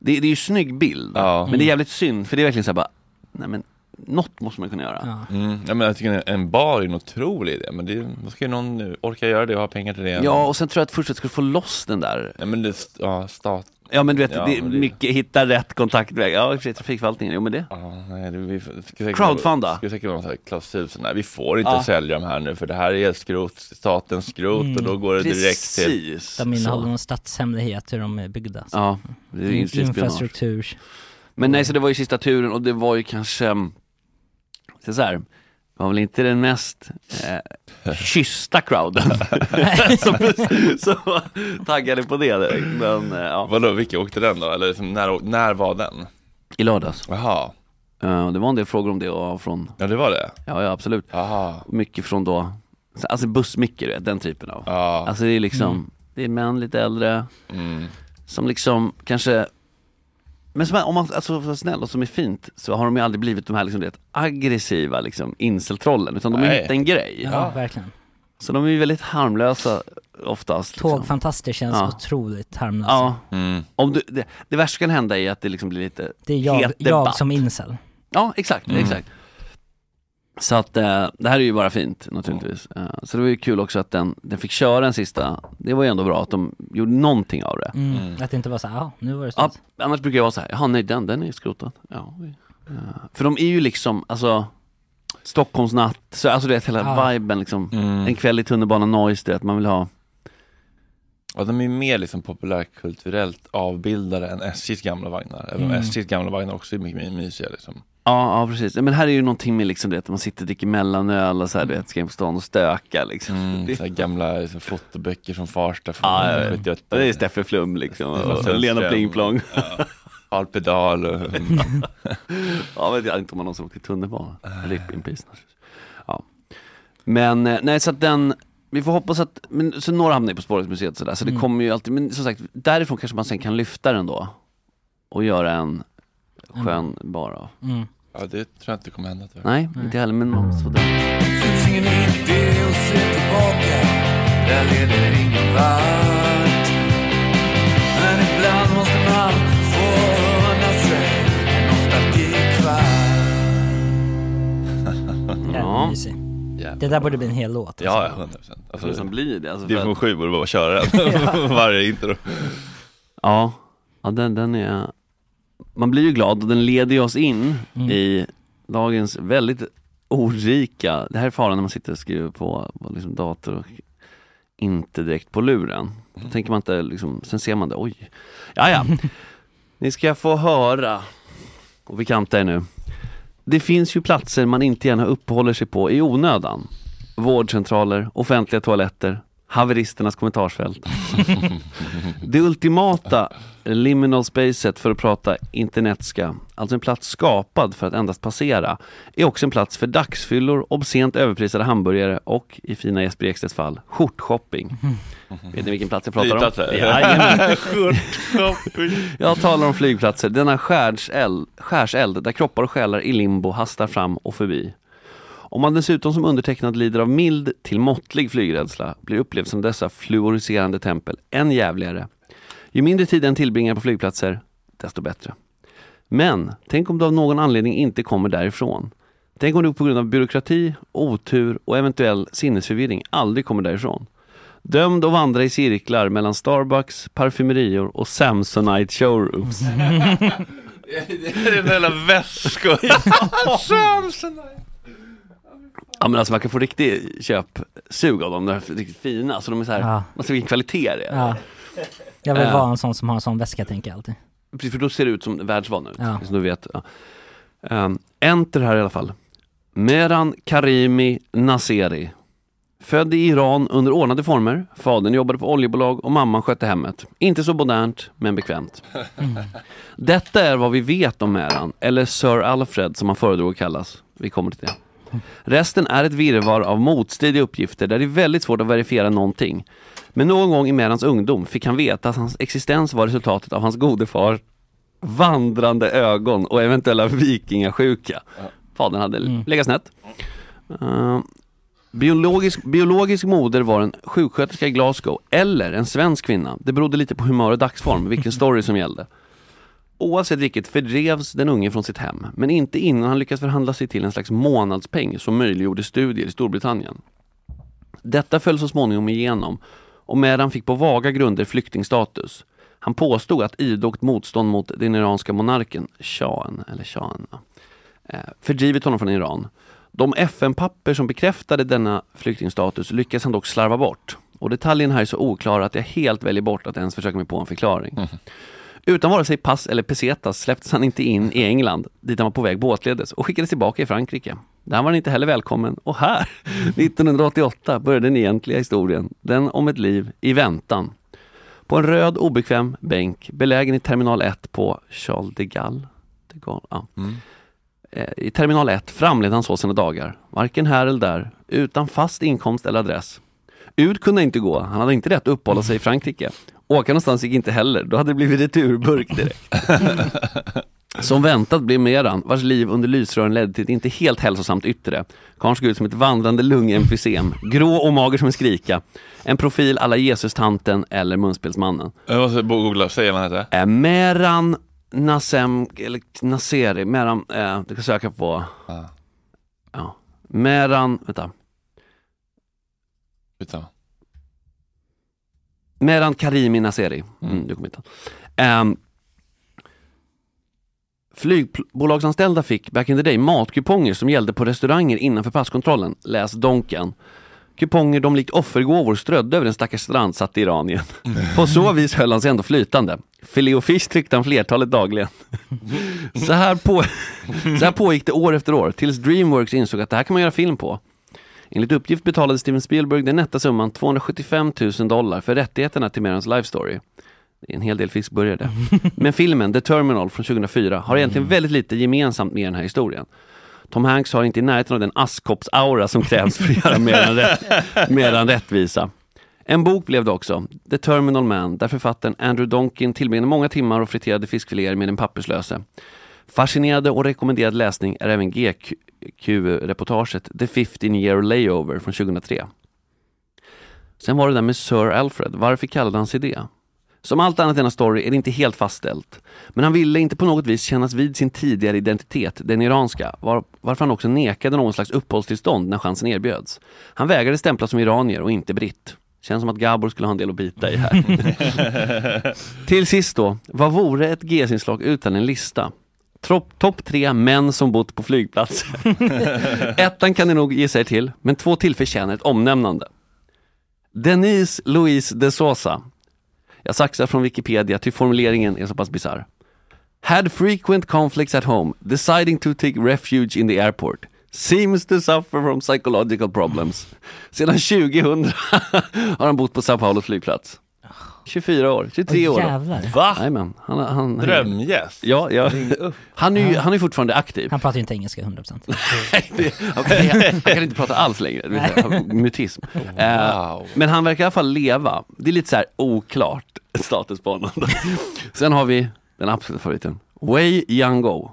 J: Det, det är ju snygg bild, men
B: Mm.
J: det är jävligt synd för det är verkligen såhär bara, nej men något måste man kunna göra.
A: Mm. Ja, men jag tycker en bar är en otrolig idé, men det, är- då ska ju någon orka göra det och ha pengar till det.
J: Ja, och sen tror jag att först att jag skulle få loss den där...
A: Ja, men det, ja, stat...
J: Ja, men du vet,
A: Ja,
J: det är
A: men det-
J: mycket hitta rätt kontaktväg. Ja, i och för sig trafikförvaltningen, jo men det.
A: Ja, nej, det, vi, ska säkert,
J: Crowdfunda.
A: Skulle säkert vara någon sån här Klaus Tufsen, nej vi får inte
J: Ja.
A: sälja de här nu för det här är skrot, statens skrot och då går det direkt till...
B: De innehåller någon statshemlighet hur de är byggda. så.
J: Ja, det är
B: In-
J: industrispionage.
B: Infrastruktur.
J: Men nej, så det var ju sista turen och det var ju kanske, mm, så så här, det var väl inte den mest eh, kyssta crowden som, som var taggade på det. direkt, Men, eh, ja.
A: Vadå, vilka åkte den då? Eller liksom, när, när var den?
J: I lördags.
A: Jaha.
J: Eh, det var en del frågor om det och från...
A: Ja, det var det?
J: Ja, ja absolut. Mycket från då, alltså bussmickor, du vet, den typen av. Alltså det är liksom,
A: Mm.
J: det är män lite äldre, som liksom kanske men som, är- om man alltså, var snäll och som är fint så har de ju aldrig blivit de här liksom, du vet, aggressiva liksom, inseltrollen utan de har
B: Nej.
J: hittat en grej.
B: Ja, verkligen.
J: Så de är ju väldigt harmlösa oftast. liksom.
B: Tågfantaster känns
J: Ja.
B: otroligt harmlösa.
J: Ja.
B: Mm.
J: Om du, det, det värsta kan hända är att det liksom blir lite
B: Det är jag,
J: het
B: jag
J: debatt.
B: som incel.
J: Ja, exakt,
B: Mm.
J: exakt. Så att eh, det här är ju bara fint naturligtvis. Eh, så det var ju kul också att den, den fick köra en sista, det var ju ändå bra att de gjorde någonting av det.
B: Mm. Att det inte bara såhär, ja nu var det
J: Ja,
B: slut.
J: annars brukar jag vara så här, jaha nej den, den är ju skrotad. Ja. Eh, För de är ju liksom, alltså Stockholmsnatt, så, alltså du vet hela
B: Ah.
A: Ja.
J: viben liksom. En kväll i tunnelbanan noise, du vet, man vill ha.
A: Ja, de är mer liksom populärkulturellt avbildade än SJs gamla vagnar. Även om
J: Mm.
A: SJs gamla vagnar också är mycket mer mysiga liksom.
J: Ja, ja precis. Men här är ju någonting med liksom, du vet, man sitter och dricker mellanöl och så här, du vet, ska in på stan och stöka liksom.
A: Mm, så här gamla liksom, fotoböcker från Farsta från
J: Ja, ja, ja.
A: 78.
J: det är Steffe Flum
A: Stefan
J: liksom. Och
A: Sundström.
J: Lena Pling Plong.
A: Ja. Carl Pedal och...
J: ja, vet jag inte om man någonsin åkte tunnelbana. RIP in peace. naturligtvis. Ja. Men eh, nej, så att den, vi får hoppas att, men, så några hamnar ju på Spårvägsmuseet sådär, så det
B: Mm.
J: kommer ju alltid, men som sagt, därifrån kanske man sen kan lyfta den då. Och göra en skön bar av.
B: Mm.
A: Ja, det tror jag inte kommer hända tyvärr.
J: Nej, inte heller, men man måste få den.
I: finns ingen idé att se tillbaka. Där leder ingen vart. Men ibland måste man få unna sig en nostalgikvart.
B: Ja. mysig. Det där borde bli en hel låt. alltså.
A: Ja, ja, 100 procent.
J: Jag tror nästan blir det, alltså, för
A: division
J: att-
A: 7 borde bara köra den varje intro.
J: Ja, ja den, den är... Man blir ju glad och den leder ju oss in i dagens väldigt orika... Det här är faran när man sitter och skriver på, på liksom dator och inte direkt på luren. Då tänker man inte liksom, sen ser man det, oj. Ja, ja. Ni ska få höra, och vi kantar er nu. Det finns ju platser man inte gärna uppehåller sig på i onödan. Vårdcentraler, offentliga toaletter, haveristernas kommentarsfält. Det ultimata liminal spacet för att prata internetska, alltså en plats skapad för att endast passera, är också en plats för dagsfyllor, obscent överprisade hamburgare och, i fina Jesper Ekstedts fall, skjortshopping. Vet ni vilken plats jag pratar om?
A: Flygplatser.
J: Jajamän.
A: Skjortshopping.
J: Jag talar om flygplatser, denna skärseld, skärseld där kroppar och själar i limbo hastar fram och förbi. Om man dessutom som undertecknad lider av mild till måttlig flygrädsla blir upplevelsen av dessa fluoriserande tempel än jävligare. Ju mindre tid en tillbringar på flygplatser, desto bättre. Men tänk om du av någon anledning inte kommer därifrån. Tänk om du på grund av byråkrati, otur och eventuell sinnesförvirring aldrig kommer därifrån. Dömd att vandra i cirklar mellan Starbucks, parfymerior och Samsonite showrooms.
A: Det är en jävla väskor.
J: Ja men alltså man kan få riktig köpsug av dem, de är riktigt fina. Alltså de är så här,
B: Ja.
J: man ser vilken kvalitet det är.
B: Ja. Jag vill
J: Eh.
B: vara en sån som har en sån väska tänker jag alltid.
J: Precis, för då ser det ut som världsvan ut.
B: Ja.
J: Som du vet. Ja. Ehm, enter här i alla fall. Meran Karimi Naseri. Född i Iran under ordnade former. Fadern jobbade på oljebolag och mamman skötte hemmet. Inte så modernt, men bekvämt. Detta är vad vi vet om Meran, eller Sir Alfred som han föredrog att kallas. Vi kommer till det. Resten är ett virrvarr av motstridiga uppgifter där det är väldigt svårt att verifiera någonting. Men någon gång i Merans ungdom fick han veta att hans existens var resultatet av hans gode far vandrande ögon och eventuella vikingasjuka. Fadern hade
A: Mm.
J: legat snett. Eh, biologisk, biologisk moder var en sjuksköterska i Glasgow eller en svensk kvinna. Det berodde lite på humör och dagsform, vilken story som gällde. Oavsett vilket fördrevs den unge från sitt hem, men inte innan han lyckats förhandla sig till en slags månadspeng som möjliggjorde studier i Storbritannien. Detta föll så småningom igenom och Meran fick på vaga grunder flyktingstatus. Han påstod att idogt motstånd mot den iranska monarken, shahen eller shahen, eh, fördrivit honom från Iran. De FN-papper som bekräftade denna flyktingstatus lyckas han dock slarva bort. Och detaljerna här är så oklara att jag helt väljer bort att ens försöka mig på en förklaring. Utan vare sig pass eller pesetas släpptes han inte in i England, dit han var på väg båtledes, och skickades tillbaka i Frankrike. Där var han inte heller välkommen. Och här, 1988, började den egentliga historien. Den om ett liv i väntan. På en röd obekväm bänk, belägen i terminal 1 på Charles de Gaulle. De Gaulle ja. Eh, I terminal 1 framled han så sina dagar, varken här eller där, utan fast inkomst eller adress. Ut kunde han inte gå, han hade inte rätt att uppehålla sig i Frankrike. Åka någonstans gick inte heller, då hade det blivit returburk direkt. Som väntat blev Meran, vars liv under lysrören ledde till ett inte helt hälsosamt yttre. Karln såg ut som ett vandrande lungemfysem, grå och mager som en skrika. En profil alla Jesus-tanten eller munspelsmannen.
A: Jag måste googla, säger man hette?
J: Eh, Meran Nasem, eller Naseri, Meran, eh, du kan söka på... Ja. Meran, vänta.
A: Skitsamma.
J: Meran Karimi Naseri. Mm, du kommer hitta. Ehm, flygbolagsanställda fick back in the day matkuponger som gällde på restauranger innanför passkontrollen. Läs Donken. Kuponger de likt offergåvor strödde över den stackars strandsatte iranien. På så vis höll han sig ändå flytande. Filé och fisk tryckte han flertalet dagligen. Så här, på, så här pågick det år efter år, tills Dreamworks insåg att det här kan man göra film på. Enligt uppgift betalade Steven Spielberg den nätta summan 275 000 dollar för rättigheterna till Merons Life Story. Det är en hel del fiskburgare det. Men filmen The Terminal från 2004 har egentligen väldigt lite gemensamt med den här historien. Tom Hanks har inte i närheten av den askkoppsaura som krävs för att göra mer än, rätt, mer än rättvisa. En bok blev det också, The Terminal Man, där författaren Andrew Donkin tillbringade många timmar och friterade fiskfiléer med den papperslöse. Fascinerande och rekommenderad läsning är även GQ-reportaget The 15 year layover från 2003. Sen var det där med Sir Alfred, varför kallade han sig det? Som allt annat i denna story är det inte helt fastställt. Men han ville inte på något vis kännas vid sin tidigare identitet, den iranska, var, varför han också nekade någon slags uppehållstillstånd när chansen erbjöds. Han vägrade stämpla som iranier och inte britt. Känns som att Gabor skulle ha en del att bita i här. Till sist då, vad vore ett GS-inslag utan en lista? Trop- Topp tre män som bott på flygplatser. Ettan kan ni nog gissa er till, men två till förtjänar ett omnämnande. Denise Louise de Sosa. Jag saxar från Wikipedia till formuleringen är så pass bisarr. Had frequent conflicts at home, deciding to take refuge in the airport. Seems to suffer from psychological problems. Sedan 2000 har han bott på Sao Paulos flygplats. 24 år, 23
A: Åh,
J: år.
A: jävlar.
J: Va? Jajamän, han, han,
A: Drömgäst.
J: Ja, ja.
A: Ring upp.
J: Han är ju han är fortfarande aktiv.
B: Han pratar ju inte engelska 100%.
J: Han kan, han kan inte prata alls längre, Du vet, han har mutism. Eh, Men han verkar i alla fall leva. Det är lite så här oklart status på honom. Sen har vi den absoluta favoriten, Wei Yango.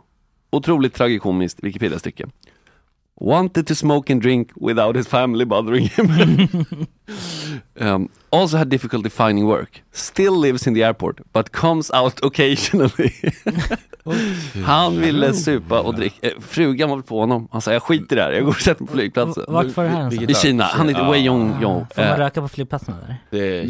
J: Otroligt tragikomiskt Wikipedia-stycke. Wanted to smoke and drink without his family bothering him. um, also had difficulty finding work. Still lives in the airport, but comes out occasionally. Han ville supa och dricka. Eh, Frugan var väl på honom. Han sa, jag skiter i det här, jag går och sätter mig på flygplatsen.
B: V- vart var det här någonstans?
J: I Kina. Han heter
B: Ja.
J: Wei Yong-Yong.
B: Får man röka på flygplatserna där?
A: Det,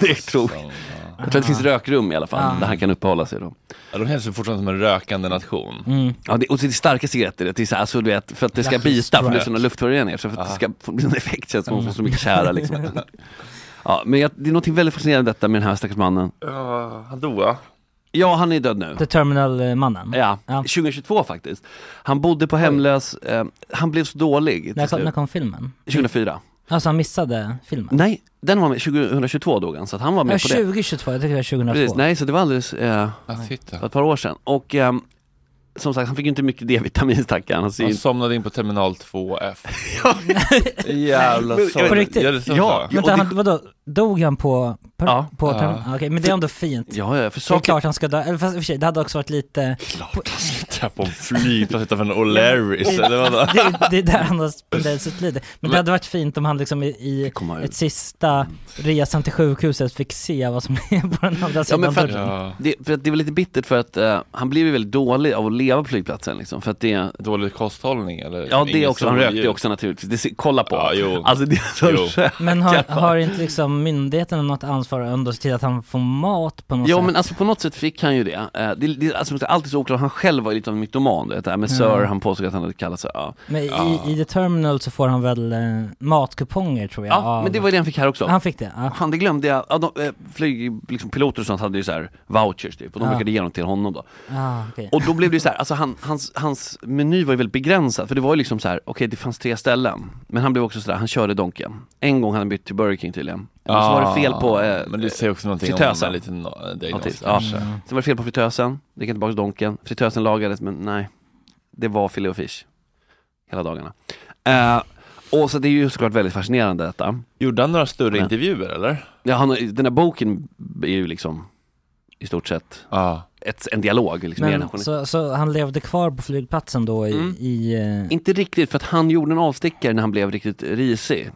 J: det tror jag. Jag tror att det finns rökrum i alla fall,
B: Ja.
J: där han kan uppehålla sig då.
A: Ja, de hälsar fortfarande som en rökande nation.
J: Mm. Ja, det, och det är starka cigaretter, det är så här, alltså, du vet, för att det ska
A: Lakrits,
J: bita, för
A: tror
J: det är
A: jag.
J: sådana luftföroreningar, så för att det ska få en effekt känns det som att man får så mycket
A: Mm.
J: tjära liksom. Ja, men jag, det är något väldigt fascinerande detta med den här stackars mannen.
A: Ja, han dog va?
J: Ja, han är död nu.
B: The Terminal-mannen?
J: Ja, 2022 faktiskt. Han bodde på hemlös, eh, han blev så dålig till
B: När kom,
J: slut.
B: när kom filmen?
J: 2004.
B: Alltså han missade filmen?
J: Nej, den var med 2022 dog han, så att han var med
B: Ja,
J: på det.
B: 2022, jag tycker det var 2002.
J: Precis, nej så det var alldeles eh, för ett par år sedan. Och ehm, som sagt, han fick ju inte mycket D-vitamin stackaren. Han ser
A: Han
J: ju
A: somnade in på terminal 2F. Jävla sorg.
B: På riktigt?
A: Ja, det är så
B: Vänta,
A: bra.
B: han, vadå? Dog han på, på,
J: Ja.
B: på
J: Ja.
B: termin- Okej, men det är ändå fint.
J: Ja, ja, för
B: Det är
J: saker...
B: klart han ska dö, eller fast i och för sig, det hade också varit lite...
A: Klart han ska dö på en flygplats utanför en O'Larrys eller vadå?
B: det, det är där han har spenderat sitt liv. Men, det hade varit fint om han liksom i, i
J: ut.
B: ett sista resan till sjukhuset fick se vad som är på den andra
J: Ja,
B: sidan
J: men för,
B: dörren.
J: att, det, för att det var lite bittert för att eh, han blev ju väldigt dålig av att leva på flygplatsen liksom, för att det...
A: Dålig kosthållning eller?
J: Ja det
A: Ingen
J: också, han rökte ju
A: solljus.
J: också naturligtvis, det, ser- kolla på!
A: Ja, jo.
J: Alltså det
A: Jo.
B: Men har, har inte liksom myndigheten något ansvar att ändå se till att han får mat på något
J: Ja
B: sätt?
J: men alltså på något sätt fick han ju det. Eh, det, det alltså, det är alltid så oklart, han själv var ju lite av en mytoman du vet, det här med
B: Mm.
J: Sir, han påstod att han hade kallat sig, ja.
B: Men i,
J: ja.
B: i The Terminal så får han väl eh, matkuponger tror jag?
J: Ja, men det var ju det han fick här också.
B: Han fick det,
J: Han, det glömde jag, ja, de, eh, flyg, liksom piloter och sånt hade ju så här vouchers typ, och de
B: Ja.
J: brukade ge dem till honom då.
B: Ah, okej.
J: Och då blev det ju så här, alltså han, hans, hans meny var ju väldigt begränsad, för det var ju liksom så här, okej det fanns tre ställen, men han blev också så där, han körde Donken. En gång hade han bytt till Burger King tydligen. Men Alltså, så
A: Ah.
J: var det fel på eh,
A: Men det säger också någonting
J: fritösen.
A: om en liten no- diagnos
J: Autism, ja.
A: kanske.
J: Sen var det fel på fritösen, det gick tillbaka till Donken. Fritösen lagades men nej, det var filé och fish hela dagarna. Eh, och så det är ju såklart väldigt fascinerande detta.
A: Gjorde han några större
J: Ja.
A: intervjuer eller?
J: Ja, han, den här boken är ju liksom i stort sett ett, en dialog. Liksom, med en
B: Men,
J: journalist.
B: så, så han levde kvar på flygplatsen då i...
J: Mm.
B: i eh,
J: Inte riktigt, för att han gjorde en avstickare när han blev riktigt risig.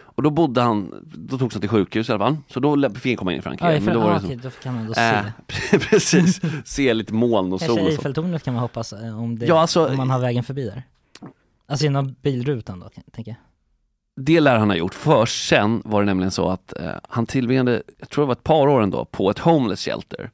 J: Och då bodde han, då togs han till sjukhus i alla fall, så då lä- fick han komma in i Frankrike.
B: Ja, i Fra-
J: då
B: ah,
J: så-
B: okej, då fick han ändå
J: Eh, precis, se lite moln och sol
B: Kanske
J: och sånt.
B: Eiffeltornet kan man hoppas eh, om, det,
J: Ja, alltså-
B: om man har vägen förbi där. Alltså inom bilrutan då, kan- tänker jag.
J: Det lär han ha gjort, för sen var det nämligen så att eh, han tillbringade, jag tror det var ett par år ändå, på ett homeless shelter.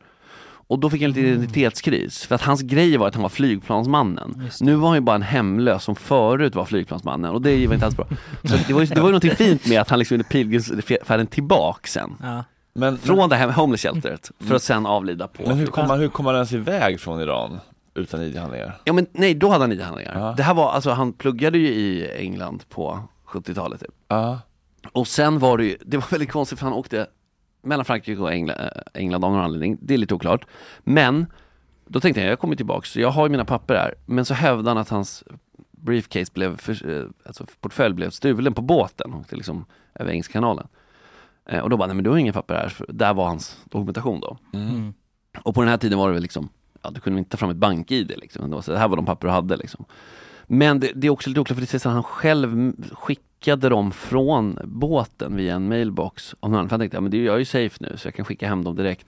J: Och då fick han lite identitetskris, för att hans grej var att han var flygplansmannen. Nu var han ju bara en hemlös som förut var flygplansmannen och det var inte alls bra. Så det var ju, det var ju någonting fint med att han liksom gjorde pilgrimsfärden tillbaka sen.
B: Ja.
A: Men,
J: Från det här homeless shelteret, för att sen avlida på
A: Men hur kom, han, hur kom han ens iväg från Iran utan ID-handlingar?
J: Ja men nej, då hade han ID-handlingar. Det här var, alltså han pluggade ju i England på 70-talet typ. Och sen var det ju, det var väldigt konstigt för han åkte mellan Frankrike och England, eh, England av någon anledning, det är lite oklart. Men då tänkte jag, jag kommer tillbaks, så jag har ju mina papper här. Men så hävdade han att hans briefcase blev, för, eh, alltså portfölj blev stulen på båten, Han åkte liksom över Engelska kanalen. Eh, Och då bara, nej men du har inga papper här, för där var hans dokumentation då.
I: Mm.
J: Och på den här tiden var det väl liksom, ja du kunde väl inte ta fram ett bank-id liksom. Det, var så, det här var de papper du hade liksom. Men det, det är också lite oklart för det sägs att han själv m- skickade dem från båten via en mailbox. Om han tänkte, ja men det, jag är ju safe nu så jag kan skicka hem dem direkt.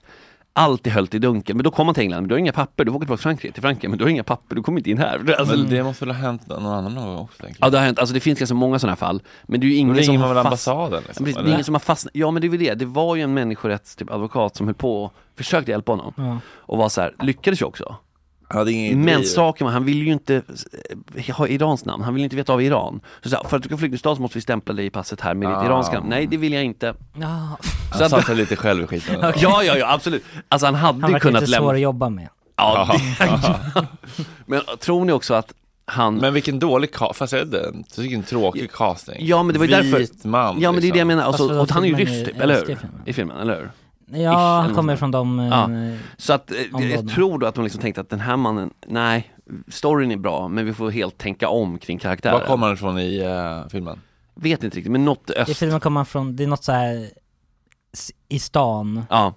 J: Allt är höllt i dunkel, men då kommer han till England, men du har inga papper, du åker tillbaka till Frankrike, till Frankrike, men du har inga papper, du kommer inte in här. Alltså,
A: men det måste väl ha hänt någon annan någon gång också? tänker
J: Ja det har hänt, alltså det finns ganska många sådana här fall. Men det är ju ingen
A: ringer
J: som
A: man
J: har
A: väl
J: fast-
A: ambassaden,
J: Ja,
A: liksom,
J: precis, det är
A: eller?
J: ingen som har fastnat. Ja men det är väl det, det var ju en människorättstyp advokat som höll på och försökte hjälpa honom.
B: Ja.
J: Och var så här, lyckades ju också.
A: inget driv.
J: men saken var, han ville ju inte eh, ha Irans namn, han ville inte veta av Iran. Så, så här, för att du kan flyktingstatus måste vi stämpla dig i passet här med ditt
A: Ah.
J: iranska namn. Nej det vill jag inte.
B: Ja.
A: Han satte lite själv i skiten.
J: ja, ja, ja absolut. Alltså han hade
B: Han
J: ju
B: var
J: kunnat
B: lite
J: lämna.
B: svår att jobba med.
J: Ja, det... men tror ni också att han...
A: Men vilken dålig cast, fast är det en- vilken tråkig casting.
J: Ja men det var ju därför.
A: Vit man. liksom.
J: Ja men det är det jag menar, alltså,
B: Fast
J: och han är ju
B: filmen
J: ryss
B: är-
J: typ, eller
B: älskar
J: hur?
B: filmen.
J: I filmen, eller hur?
B: Ja,
J: eller
B: han
J: något
B: kommer
J: sånt.
B: från de... eh,
J: Ja. Så att, eh, jag
B: områdena.
J: tror då att de liksom tänkte att den här mannen, nej, storyn är bra men vi får helt tänka om kring karaktären.
A: Var kommer han ifrån i eh, filmen?
J: Vet inte riktigt, men något
B: I
J: öst.
B: filmen kommer han från, det är något så här s- i stan.
J: Ja.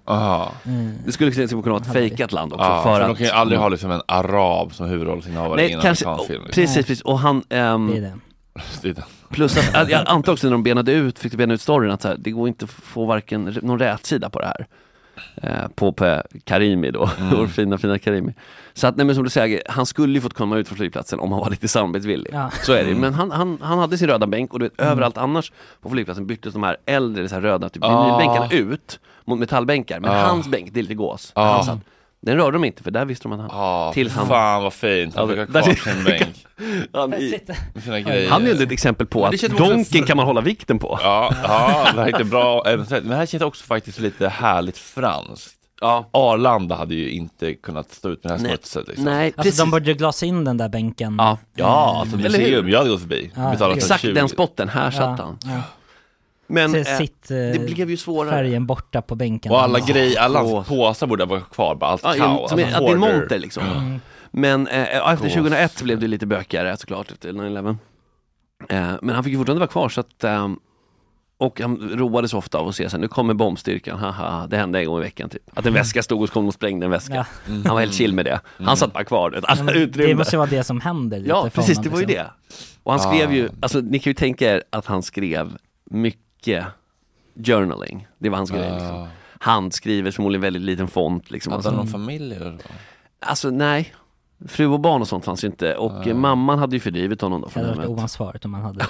B: Mm.
J: Det skulle till exempel kunna vara ett
B: Hade vi.
J: fejkat land också
A: Ja,
J: för,
A: för
J: att...
A: de kan ju aldrig ha liksom en arab som huvudrollsinnehavare i
J: Nej,
A: en
J: kanske,
A: amerikansk film. Liksom.
J: precis, precis, och han... ehm,
B: Det är den.
A: Det är den.
J: Plus att, att jag antar också när de benade ut, fick de bena ut storyn att så här, det går inte att få varken r- någon rätsida på det här. Eh, på, på Karimi då,
A: Mm.
J: vår fina fina Karimi. Så att, nej men som du säger, han skulle ju fått komma ut från flygplatsen om han var lite samarbetsvillig.
B: Ja.
J: Så är det ju. men han, han, han hade sin röda bänk och du vet, överallt annars på flygplatsen byttes de här äldre så här röda typ,
A: Ah.
J: vinylbänkarna ut mot metallbänkar. Men
A: Ah.
J: hans bänk, det är lite gås,
A: Ah.
J: han satt, den rörde de inte för där visste de att han...
A: Ja,
J: tills han-
A: Ah, Fan vad fint, han
J: Ja,
A: fick
J: där
A: ha kvar
J: sitter-
A: sin bänk.
J: Han,
B: Alltså,
A: Med sina grejer.
J: han är ju ett exempel på
A: Men det
J: att
A: känns också-
J: donken kan man hålla vikten på.
A: Ja, ja det här är bra eventuellt. Men det här känns också faktiskt lite härligt franskt.
J: Ja.
A: Arlanda hade ju inte kunnat stå ut med den här
B: Nej.
A: smutsen liksom.
B: alltså, de borde ju glasa in den där bänken.
J: Ja, ja alltså,
A: Alltså, museum, jag hade gått förbi.
B: Ja,
A: Betalat
J: Exakt
A: 20.
J: den spotten, här satt
B: Ja,
J: han.
B: ja.
J: Men
B: Så
J: eh,
B: sitt, eh,
J: det blev ju svårare.
B: Färgen borta på bänken.
A: Och alla
B: Ja.
A: grejer, alla hans påsar borde ha varit kvar, bara allt
J: Ja,
A: kaos.
J: som är-
A: alltså,
J: att det är en
A: hoarder.
J: monter liksom.
A: Ja.
J: Men eh, efter
A: Gås.
J: 2001 blev det lite bökigare såklart efter 9-11. Eh, men han fick ju fortfarande vara kvar så att eh, Och han roades ofta av att se så här, nu kommer bombstyrkan, haha, det hände en gång i veckan typ. Att en väska stod och kom och sprängde en väska.
B: Ja.
J: Han var helt chill med det. Han
B: Mm.
J: satt bara kvar, vet, alla
B: Men
J: utrymde.
B: Det måste ju vara det som händer lite
J: Ja,
B: för
J: precis,
B: honom,
J: det var ju
B: liksom.
J: det. Och han skrev
B: Ah.
J: ju, alltså ni kan ju tänka er att han skrev mycket journaling. Det var hans grej. Liksom. Han skriver förmodligen väldigt liten font. Liksom.
A: Hade
J: Alltså,
A: han någon familj eller? vad?
J: Alltså nej, fru och barn och sånt fanns ju inte. Och eh, mamman hade ju fördrivit honom då
B: Det
J: från
B: hade varit
J: hemmet.
B: oansvarigt om man hade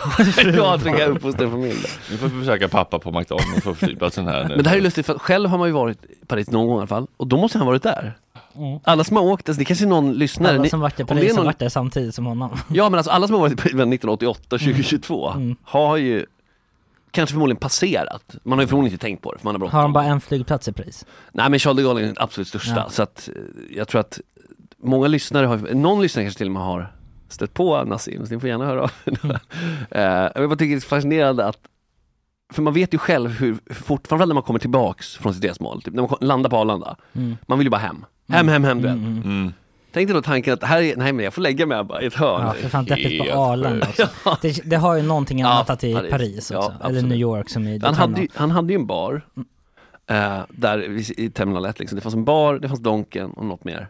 J: Ja, att trycka upp hos den familjen.
A: Nu får vi försöka pappa på McDonalds på flygplatsen här nu.
J: Men det här är ju lustigt, för själv har man ju varit i Paris någon gång i alla fall. Och då måste han ha varit där.
B: Mm.
J: Alla som har åkt, alltså, det kanske är någon lyssnare.
B: Alla
J: Ni-
B: som varit i
J: om det är
B: Paris har
J: någon-
B: varit där samtidigt som honom.
J: Ja men alltså alla som har varit i Paris mellan 1988 och 2022 har ju kanske förmodligen passerat. Man har ju förmodligen inte tänkt på det för man har
B: Har
J: bråttom.
B: de bara en flygplats i Paris?
J: Nej men Charles de Gaulle är den absolut största.
B: Ja.
J: Så att eh, jag tror att många lyssnare har, någon lyssnare kanske till och med har stött på Nassim, så ni får gärna höra av er. Eh, Jag bara tycker det är fascinerande att för man vet ju själv hur hur fort, framförallt när man kommer tillbaks från sitt resmål, typ när man kom- landar på Arlanda,
B: Mm.
J: man vill ju bara hem. Hem, hem, hem, du vet.
A: Mm.
J: Tänk dig då tanken att här är, nej men jag får lägga mig bara i ett hörn.
B: Ja, för fan deppigt
J: Helt
B: på Arlanda
J: sjukt.
B: också. Det, det har ju någonting annat att det är
J: Paris.
B: i Paris också.
J: Ja,
B: Eller
J: absolut.
B: New York som i
J: han, hade ju,
B: Downton.
J: han hade ju en bar eh, där vid- i Terminal 1 liksom. Det fanns en bar, det fanns Donken och något mer.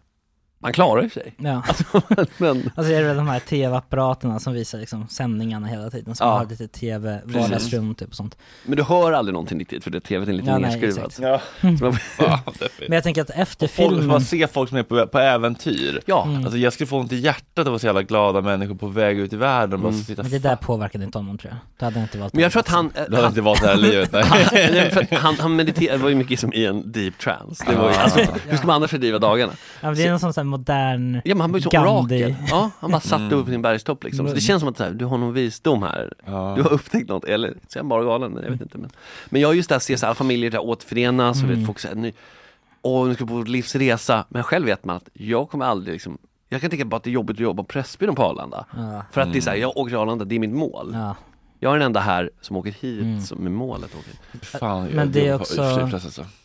J: Man klarar ju sig.
B: Ja.
J: Alltså, men,
B: Alltså det är väl de här tv-apparaterna som visar liksom sändningarna hela tiden, som
J: Ja.
B: har lite tv,
J: Precis.
B: vardagsrum typ och sånt.
J: men du hör aldrig någonting riktigt för det tvn är lite
B: Ja, nej,
J: nerskruvad.
B: exakt.
A: Ja.
J: Så man-
B: Men jag tänker att efter
A: Och folk,
B: filmen,
A: man ser folk som är på, på äventyr.
J: Ja.
B: Mm.
A: Alltså jag skulle få ont i hjärtat av att se alla glada människor på väg ut i världen. Bara
J: Mm.
A: sitta,
B: men det där påverkade inte honom tror jag. Det hade inte varit
J: Men jag tror att han...
A: Det hade inte varit det här livet, nej.
J: Han, nej, för att han, han mediterade, det var ju mycket som i en deep trance. Det var ju,
A: Ja.
J: alltså, hur ska man annars fördriva dagarna?
B: ja, men det är någon sån sån här modern
J: Ja men han var ju så
B: Gandhi.
J: orakel. Ja, han bara satt upp på din bergstopp liksom.
A: Mm.
J: Så det känns som att så här, du har någon visdom här. Du har upptäckt något, eller så är han bara galen, jag vet inte. Men, men jag just det här, ser så här, familjer där återförenas och
B: Mm.
J: vet, folk säger nu, åh nu ska vi på vår livsresa. Men själv vet man att jag kommer aldrig liksom, jag kan tänka bara att det är jobbigt att jobba på Pressbyrån på Arlanda.
B: Ja.
J: För att det är
A: Mm.
J: så här, jag åker till Arlanda, det är mitt mål.
B: Ja. Mm.
J: Jag är den enda här som åker hit som är målet. Åker.
A: Fan,
B: Men det är också,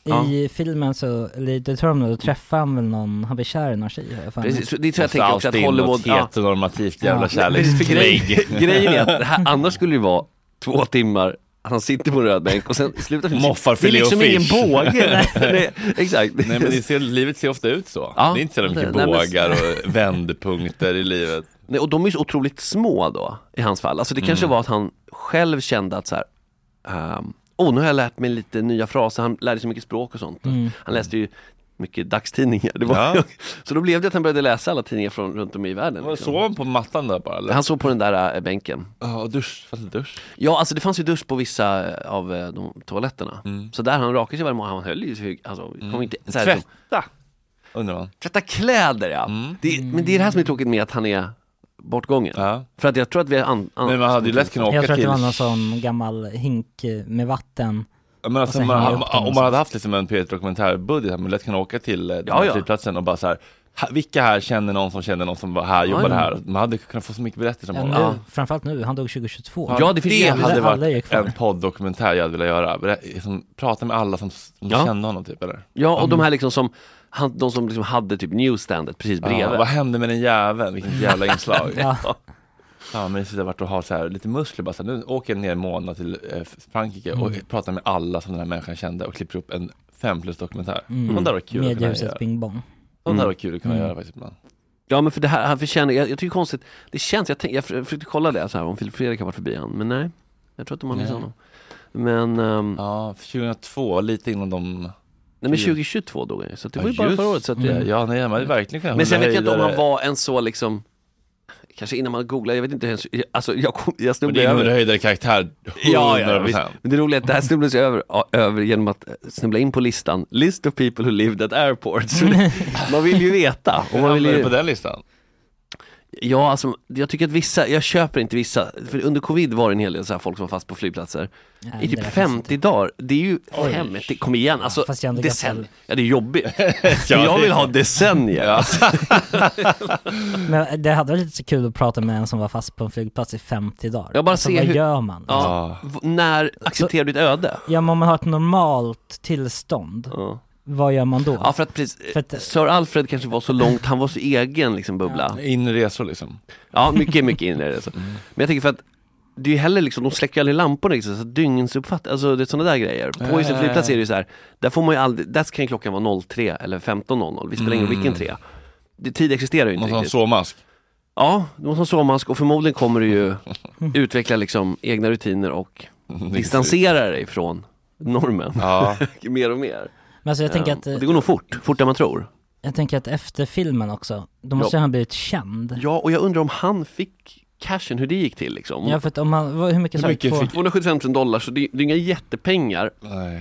J: Ja.
B: i filmen så, eller det tror jag de då träffar han väl någon, han blir kär i någon tjej har jag för mig.
J: Precis, så det tror jag tänker också att Hollywood...
A: Alltså, Alltid något heteronormativt jävla
J: Ja. För
A: kärlekskrig.
J: grejen- Grejen är att det här annars skulle ju vara två timmar han sitter på en röd bänk och sen i slutet av filmen-
A: Moffar
J: Det är
A: filé och
J: liksom ingen
A: fish.
J: båge. Nej, nej, exakt.
A: Nej men det ser, livet ser ofta ut så.
J: Ja.
A: Det är inte så jävla mycket
J: Nej, men-
A: bågar och vändpunkter i livet.
J: Nej, och de är ju så otroligt små då, i hans fall. Alltså det
A: Mm.
J: kanske var att han själv kände att så här, ehm, oh nu har jag lärt mig lite nya fraser, han lärde sig mycket språk och sånt.
B: Mm.
J: Han läste ju mycket dagstidningar. Det var,
A: Ja.
J: så då blev det att han började läsa alla tidningar från runt om i världen.
A: Liksom. Sov han på mattan där bara eller?
J: Han såg på den där eh, bänken.
A: Ja, och dusch, fanns det dusch?
J: Ja, alltså det fanns ju dusch på vissa eh, av eh, de toaletterna.
A: Mm.
J: Så där han rakade sig varje morgon, han höll ju sig, alltså, kom inte så här,
A: Tvätta, undrar man.
J: Tvätta kläder ja! Det, men det är det här som är tråkigt med att han är bortgången. För att jag tror att vi har an, an,
A: Men man hade ju lätt kunnat åka
B: Jag tror att det
A: till-
B: var någon sån gammal hink med vatten.
A: Ja, men alltså,
B: Och sen
A: man,
B: hänga
A: man,
B: upp dem
A: om man hade haft liksom en P1 dokumentärbudget hade man lätt kunnat åka till eh, den
J: Ja,
A: här
J: ja.
A: flygplatsen och bara så här, "Ha- vilka här känner någon som känner någon som var här, jobbade
B: ja.
A: här? Man hade kunnat få så mycket berättelser om
B: Ja,
A: honom.
B: nu, framförallt nu, han dog 2022.
A: Ja, det, hade
B: Alla är
A: varit
B: kvar.
A: en poddokumentär jag hade velat göra. Berä- Som, prata med alla som, som
J: Ja.
A: kände honom typ eller?
J: Ja, och de här liksom som, han, de som liksom hade typ newsstandet precis bredvid.
A: Ja, vad hände med den jäveln? Vilket jävla inslag.
B: Ja.
A: Fan vad mysigt det har varit att ha så här, lite muskler bara så här, nu åker jag ner en månad till eh, Frankrike
B: Mm.
A: och pratar med alla som den här människan kände och klipper upp en fem plus dokumentär.
B: Mm.
A: Sånt där var kul att kunna göra.
B: Mediehuset Bing Bong.
A: Sånt där var kul att kunna
B: Mm.
A: göra faktiskt ibland.
J: Ja men för det här, han förtjänar, jag, jag tycker konstigt, det känns, jag, tänk, jag för- försökte kolla det så här, om Filip Fredrik har varit förbi han, men nej. Jag tror att de har liksom- missat
A: Nej.
J: honom. Men,
B: Mm.
J: ehm,
A: Ja, 2002, lite innan de...
J: nej men 2022 dog han ju, så det
A: Ja,
J: var ju bara
A: just
J: förra året. Så att det,
A: det. Ja, nej, man hade verkligen kunnat
J: Men sen vet jag inte om han
A: hundrahöjdare.
J: var en så liksom, kanske innan man googlade, jag vet inte ens, alltså jag, kom, jag
A: Och det
J: snubblade
A: är en
J: över.
A: hundrahöjdare karaktär, 100%.
J: Ja, ja, ja, visst. Men det roliga är att det här snubblades jag över, ja, över genom att eh, snubbla in på listan, list of people who lived at airports. Så det- man vill ju veta. Och
A: Hur
J: man vill
A: hamnade
J: ju,
A: du på den listan?
J: Ja, alltså, jag tycker att vissa, jag köper inte vissa, för under covid var det en hel del så här folk som var fast på flygplatser
B: men
J: i
B: det
J: typ
B: där
J: 50 dagar. Det är ju
B: Oj.
J: 50, kom igen, alltså
B: fast jag är ändå
J: decennier.
B: gammal.
J: Ja, det är jobbigt.
A: Ja,
J: jag
A: det-
J: vill ha decennier. Alltså.
B: Men det hade varit lite så kul att prata med en som var fast på en flygplats i 50 dagar.
J: Jag bara
B: alltså,
J: ser
B: vad
J: hur-
B: gör man?
J: Ja, v- När accepterar du ditt öde?
B: Ja men om man har ett normalt tillstånd,
J: Ja.
B: vad gör man då?
J: Ja, för att precis,
B: För att-
J: Sir Alfred kanske var så långt, han var så egen liksom bubbla.
A: Inresor liksom.
J: Ja, mycket, mycket inre resor. alltså. Men jag tänker för att det är ju heller liksom, de släcker ju aldrig lamporna liksom, så att dygnsuppfattning, alltså det är sådana där grejer. På Ystad
A: Äh.
J: flygplats är det ju så här, där får man ju aldrig, där kan klockan vara 03 eller 15.00, det spelar ingen roll
A: Mm.
J: vilken trea. Det, tid existerar ju inte
A: Måste ha en
J: riktigt. sovmask? Ja, du måste ha en sovmask och förmodligen kommer du ju utveckla liksom egna rutiner och distansera dig från normen.
A: Ja.
J: mer och mer.
B: Men alltså jag tänker
J: Ehm,
B: att,
J: och det går nog fort, fortare än man tror.
B: Jag tänker att efter filmen också, då måste
J: Ja.
B: han blivit känd.
J: Ja, och jag undrar om han fick cashen, hur det gick till liksom.
B: Ja för att om han, vad- hur mycket sa
J: Hur
B: han?
J: mycket
B: Två-
J: fick 275 000 dollar, så det, det är inga jättepengar.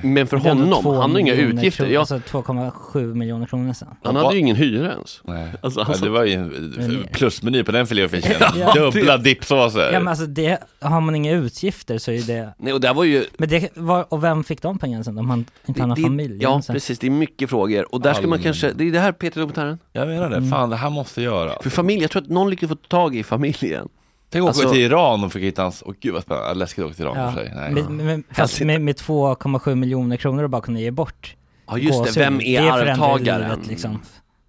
J: Men för
B: Det är ändå
J: honom,
B: två
J: han har inga
B: miljoner
J: utgifter.
B: Kronor,
J: Ja, Äh.
B: Alltså 2,7 miljoner kronor sen.
J: han hade ju ingen hyra ens. Alltså,
A: Ja,
J: han
A: det
J: satt-
A: var ju en plusmeny på den filéofischen.
B: Ja.
A: Dubbla
B: Ja
A: dippsåser.
B: men alltså det, har man inga utgifter så är det
J: Nej, och där var ju...
B: Men det var, och vem fick de pengarna sen? Om han inte han har
J: det-
B: familj? alltså.
J: Ja,
B: sen.
J: precis. Det är mycket frågor. Och där ska man
A: All-
J: kanske, det är det här Peter-dokumentären.
A: Jag menar det,
J: Mm.
A: fan det här måste göras.
J: För familj, jag tror att någon lyckas få tag i familjen.
A: Tänk åka
J: Alltså-
A: till Iran och fick hitta hans, åh gud vad spännande, läskigt att åka till Iran
B: Ja.
A: för sig. Nej.
B: Med, med, fast
A: Helvete.
B: med, med 2,7 miljoner kronor och bara kunna ge bort.
J: Ja just det,
B: Gåshud.
J: vem är,
B: förändrar
J: arvtagaren?
B: livet, liksom.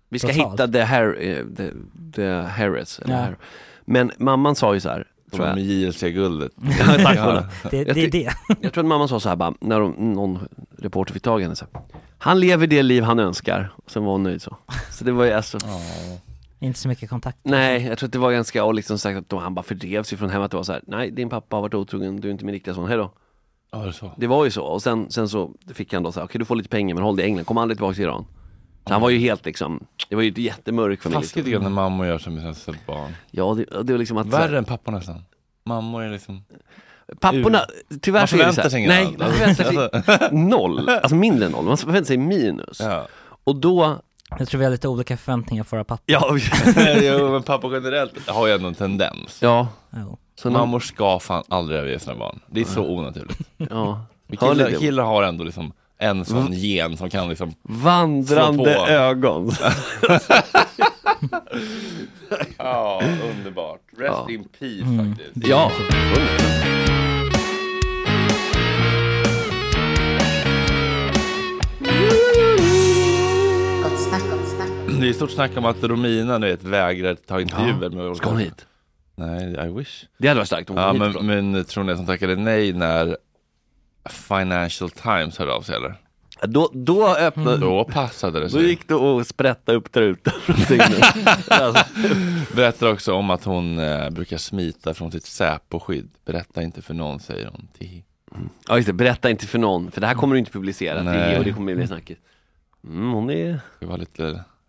J: Vi ska
B: Totalt.
J: hitta the, Har- eh, the, the Harris. Eller
B: Ja.
J: Har- Men mamman sa ju så här, tror jag.
A: Från JLC-guldet.
J: Ja, tack för det.
B: Det-
J: Jag
B: det är
J: ty- Jag tror att mamman sa så här bara, när de, någon reporter fick tag i henne så här, Han lever det liv han önskar, och sen var hon nöjd så. Så det var ju alltså
B: Inte så mycket kontakt.
J: Nej, jag tror att det var ganska, och liksom sagt att de, han bara fördrevs ju från hemmet, det var så här, nej din pappa har varit otrogen, du är inte min riktiga son, hejdå.
A: Ja, det är så.
J: Det var ju så, och sen, sen så fick han då så här, okej du får lite pengar men håll dig i England, kom aldrig tillbaka till Iran. Så han var ju helt liksom, det var ju ett jättemörk familj.
A: Taskigt tycker jag när mammor gör som med sina barn.
J: Ja, det, det var liksom att...
A: Värre än pappor nästan. Mammor är liksom...
J: Papporna,
A: Ur.
J: tyvärr
A: Man
J: så är det
A: förväntar
J: så här,
A: sig inget
J: nej,
A: annat.
J: man förväntar sig Mm. noll, alltså mindre än noll, man förväntar sig minus. Och då...
B: Jag tror vi har lite olika förväntningar på våra pappor.
J: Ja,
A: jo men pappor generellt har ju ändå en tendens.
J: Ja.
B: Jo.
J: Så när-
A: Mammor ska fan aldrig överge sina barn. Det är så onaturligt.
J: Ja.
A: Men
J: Hör Mm. ni
A: Killar,
J: det?
A: killar har ändå liksom en sån gen som kan liksom
J: Vandrande
A: slå på.
J: ögon.
A: Ja, underbart. Rest
J: Ja.
A: in peace
J: Mm.
A: faktiskt.
J: Ja.
I: Gott snack, gott snack.
A: Det är stort snack om att Romina du vet, vägrar ta intervjuer
J: Ja.
A: med
J: Ska hon hit?
A: Nej, I wish.
J: Det hade varit starkt om hon
A: ja,
J: kom
A: men,
J: hit, förlåt.
A: men tror ni som tackade nej när Financial Times hörde av sig eller?
J: Då, då öppnade...
A: Då passade det
J: Mm. Då
A: sig.
J: gick det och sprätta upp trutan. Alltså.
A: Berättar också om att hon eh, brukar smita från sitt Säpo-skydd. Berätta inte för någon säger hon. Tihi.
J: Mm. Ja just det, berätta inte för någon, för det här kommer du inte publicera. Det,
A: Nej.
J: är- och det kommer bli snacket. Mm, hon är...
A: Det var lite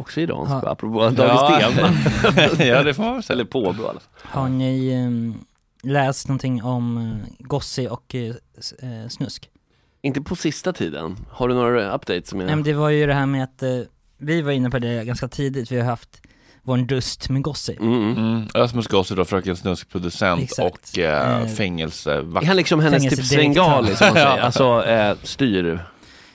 J: Också iransk,
B: Ja.
J: ja. apropå Dagens
A: Ja.
J: Sten.
A: Ja, det får man väl säga.
J: Eller påbrå i alla fall.
B: Har ni ehm, läst någonting om uh, Gossi och eh, s- eh, Snusk?
J: Inte på sista tiden. Har du några updates? Med...
B: Nej men det var ju det här med att, eh, vi var inne på det ganska tidigt, vi har haft vår dust med Gossi.
J: Mm.
A: Mm. Rasmus Gosse då, Fröken Snusk, producent
B: Exakt.
A: och eh,
B: Eh,
A: fängelsevakt.
J: Är han liksom hennes typ
B: Fängelsedirektör.
J: svengali som man säger?
A: Ja.
J: Alltså eh, styr...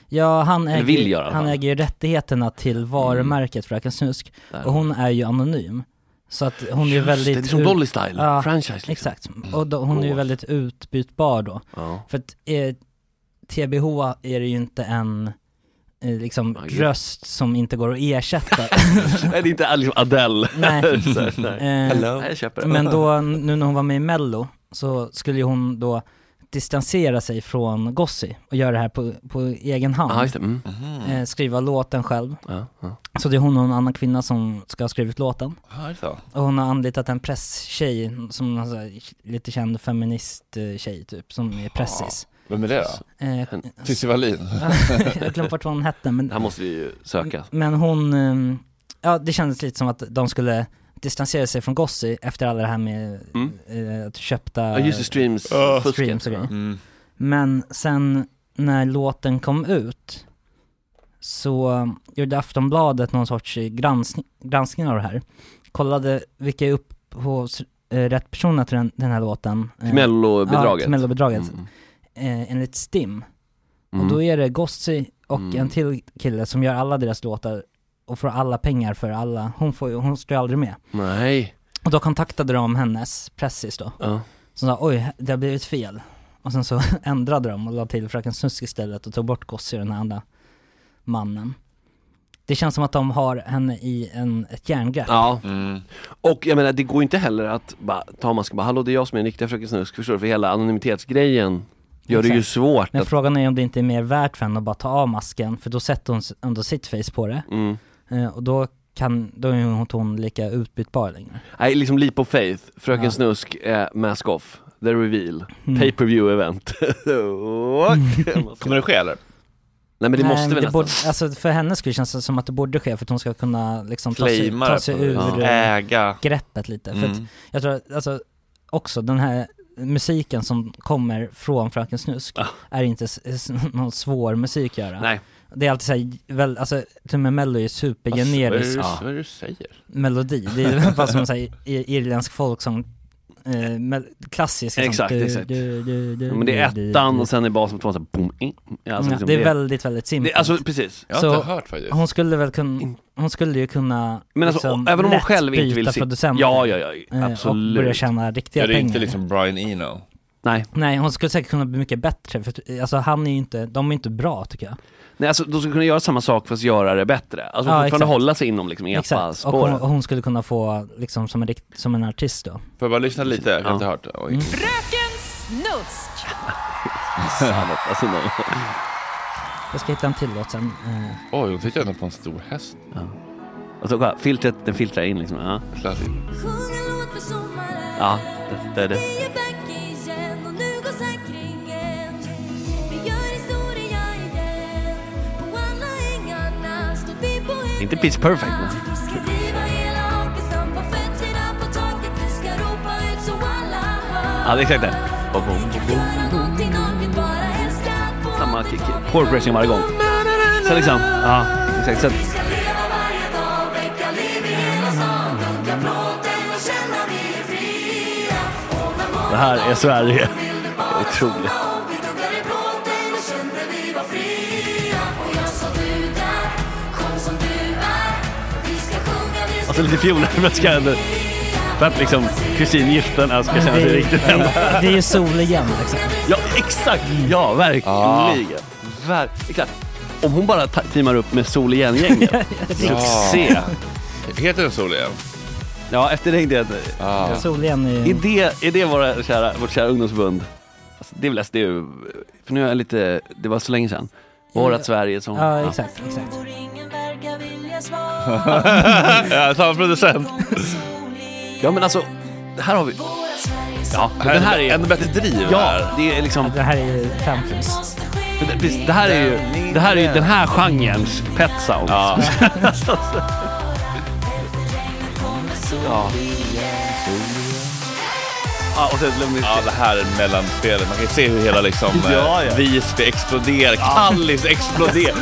B: Ja, han
J: Eller
B: äger,
J: vill göra Mm. i alla
B: han
J: fall.
B: äger ju rättigheterna till varumärket Fröken Snusk och hon är ju anonym. Så att hon är ju
J: Just det,
B: väldigt...
J: det är som
B: ut-
J: Dolly Style, franchise liksom.
B: Exakt, och då, hon är ju
J: Åh.
B: väldigt utbytbar då.
J: Ja.
B: För att eh, TBH är det ju inte en eh, liksom
J: gud.
B: röst som inte går att ersätta.
J: Nej, det är inte liksom Adele.
B: Nej.
J: Så här, nej.
B: Eh,
J: Nej, jag köper det.
B: Men då, nu när hon var med i mello, så skulle ju hon då distansera sig från Gossi och göra det här på, på egen hand.
J: Ja, just det. Mm.
B: Eh, skriva låten själv.
J: Ja, ja.
B: Så det är hon och en annan kvinna som ska ha skrivit låten.
A: Ja, är det så?
B: Och hon har anlitat en presstjej, som en sån här lite känd feministtjej typ, som är pressis.
A: Vem är det då?
B: Eh,
A: Cissi Wallin?
B: jag har glömt bort vad hon hette men...
J: Här måste vi ju söka.
B: Men hon, eh, ja det kändes lite som att de skulle distansera sig från Gossi efter alla det här med eh, att köpta
J: Mm. Ja, just det, streams-
B: Ja.
J: fusket.
B: streams och grejer.
J: Mm.
B: Men sen när låten kom ut så gjorde Aftonbladet någon sorts granskning, granskning av det här. Kollade vilka är upphovsrätt personer till den, den här låten.
J: Till Mellobidraget.
B: Ja, till mellobidraget.
J: Mm.
B: Eh, enligt Stim.
J: Mm.
B: Och då är det Gossi och
J: Mm.
B: en till kille som gör alla deras låtar och får alla pengar för alla. Hon, får, ju- hon står ju aldrig med.
J: Nej.
B: Och då kontaktade de hennes pressis då.
J: Ja.
B: Som sa oj, det har blivit fel. Och sen så ändrade de och la till Fröken Snusk istället och tog bort Gossi och den här andra mannen. Det känns som att de har henne i en, ett järngrepp.
J: Ja. Och jag menar, det går ju inte heller att bara, ta man ska bara, hallå det är jag som är den riktiga Fröken Snusk, förstår du? För hela anonymitetsgrejen gör det ju
B: Exakt.
J: svårt
B: liksom. Men
J: att...
B: frågan är om det inte är mer värt för henne att bara ta av masken, för då sätter hon s- ändå sitt face på det.
J: Mm.
B: Eh, och då kan, då är hon inte hon lika utbytbar längre.
J: Nej, liksom Leap of Faith, Fröken
B: Ja.
J: Snusk, eh, Mask Off, The Reveal,
B: Mm.
J: pay per view event.
A: Mm.
J: Kommer det ske eller? Nej men det måste väl
B: det
J: nästan.
B: borde, alltså för henne skulle det kännas som att det borde ske för att hon ska kunna liksom ta sig,
A: Claima
B: ta
A: det
B: sig
A: på-
B: ur
A: ja.
B: eh,
A: Äga.
B: greppet lite. För att
A: Mm.
B: jag tror att, alltså, också den här musiken som kommer från Fröken Snusk är inte s- s- någon svår musik att göra.
J: Ah. Nej.
B: Det är alltid såhär, väl, alltså till och med Mello är ju supergenerisk
A: Alltså, vad är det- vad är det du säger?
B: melodi. Det är bara som såhär i- irländsk folksång, eh, mel- klassisk. liksom.
J: Exakt,
B: Du-
J: exakt.
B: du- du- du-
J: Ja, men det är
B: du- du-
J: ettan
B: du-
J: och sen är basen på tvåan såhär, boom, in. Ja,
B: Ja,
J: liksom
B: det är väldigt, väldigt simpelt.
J: Det- Alltså precis.
B: så Hon skulle väl kunna, hon skulle ju kunna
J: Men alltså,
B: liksom,
J: även om hon
B: lätt
J: själv inte
B: byta
J: vill se-
B: producenter
J: Ja, ja, ja,
B: eh,
J: absolut.
B: Och börja tjäna riktiga
A: Ja, det är
B: pengar.
A: inte liksom Brian Eno.
J: Nej.
B: Nej, hon skulle säkert kunna bli mycket bättre för att, eh, alltså han är ju inte, de är inte bra tycker jag.
J: Nej alltså de skulle kunna göra samma sak fast göra det bättre. Alltså
B: Ja,
J: fortfarande
B: exakt.
J: hålla sig inom liksom
B: Exakt, och hon,
J: epa-spåret.
B: och hon skulle kunna få liksom som en, rikt, som en artist då.
A: Får jag bara lyssna lite? Jag har inte hört. Oj.
B: Mm.
I: Fröken Snusk!
J: Sannet, alltså, nej.
B: Jag ska hitta en till låt sen. eh.
J: Oj, hon sitter ändå på en stor häst. Ja. Alltså kolla, filtret, den filtrar in liksom. Ja. Ja, det, det, det. Inte pitch perfect. Men. Ja, det är exakt det. Bom, bom, bom, bom. Samma kick. Poor pressing varje gång. Så liksom, ja, exakt. Så att, det här är Sverige. Otroligt. Alltså lite fioler, men ska ändå... För att liksom kusingiften alltså, ska
B: Men
J: känna
B: det,
J: sig
B: är-
J: riktigt
B: det,
J: hemma.
B: är- det är ju sol igen liksom.
J: Ja, exakt! Ja, verkligen. Ver exakt. Om hon bara ta- teamar upp med Sol igen-gänget. Succé!
A: Heter den Sol igen?
J: Ja, efter det tänkte jag att...
B: Sol igen är
J: Är
B: ju...
J: det, är det våra kära, vårt kära ungdomsförbund? Alltså, det är väl SDU? För nu är jag lite... Det var så länge sedan. Vårat Sverige som...
B: Ja, exakt, exakt.
J: ja, samma producent. ja, men alltså, här har vi... Ja,
A: Här är
J: den här
A: ändå-
J: är...
A: ändå bättre driv
J: Ja,
A: här.
J: det är liksom...
B: Det här är ju fem plus.
J: Det, precis, det här är ju det här är ju den här genrens pet sounds. Ja. ja. Ja, och sen
A: Ja, det här är mellanspelet. Man kan ju se hur hela liksom eh,
J: Ja, ja.
A: Visby exploderar, Kallis exploderar.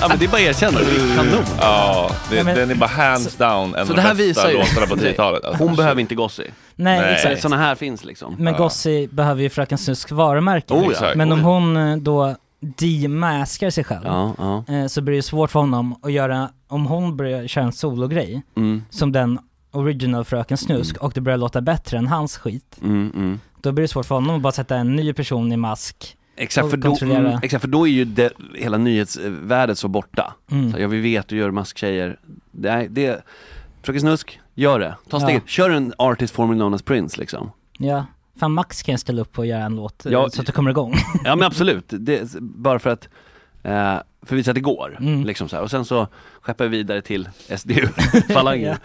J: Ja, men det är bara att erkänna, det är kanon.
A: Ja, det, den är bara hands down en
J: Så
A: av
J: det
A: de
J: här
A: bästa
J: visar ju...
A: låtarna på 10-talet. Alltså.
J: Hon behöver inte Gossi.
B: Nej, Nej. exakt.
J: Sådana här finns liksom.
B: Men Gossi behöver ju Fröken Snusks varumärke.
J: Oh, ja.
B: Men om hon eh, då demaskar sig själv,
J: Ja, ja.
B: eh, så blir det svårt för honom att göra, om hon börjar köra en sologrej,
J: Mm.
B: som den original Fröken Snusk, och det börjar låta bättre än hans skit,
J: Mm, mm.
B: då blir det svårt för honom att bara sätta en ny person i mask
J: Exakt
B: och
J: för, då,
B: kontrollera.
J: mm, exakt, för då är ju det, hela nyhetsvärdet så borta.
B: Mm.
J: Så, ja, vi vet, du gör masktjejer. Det, det, Fröken Snusk, gör det. Ta
B: Ja.
J: steget. Kör en artist formerly known as Prince liksom.
B: Ja, fan Max kan jag ställa upp och göra en låt eh,
J: Ja.
B: så att det kommer igång.
J: Ja men absolut, det, bara för att eh, för att visa att det går.
B: Mm.
J: Liksom så här. Och sen så skeppar vi vidare till SDU-falangen.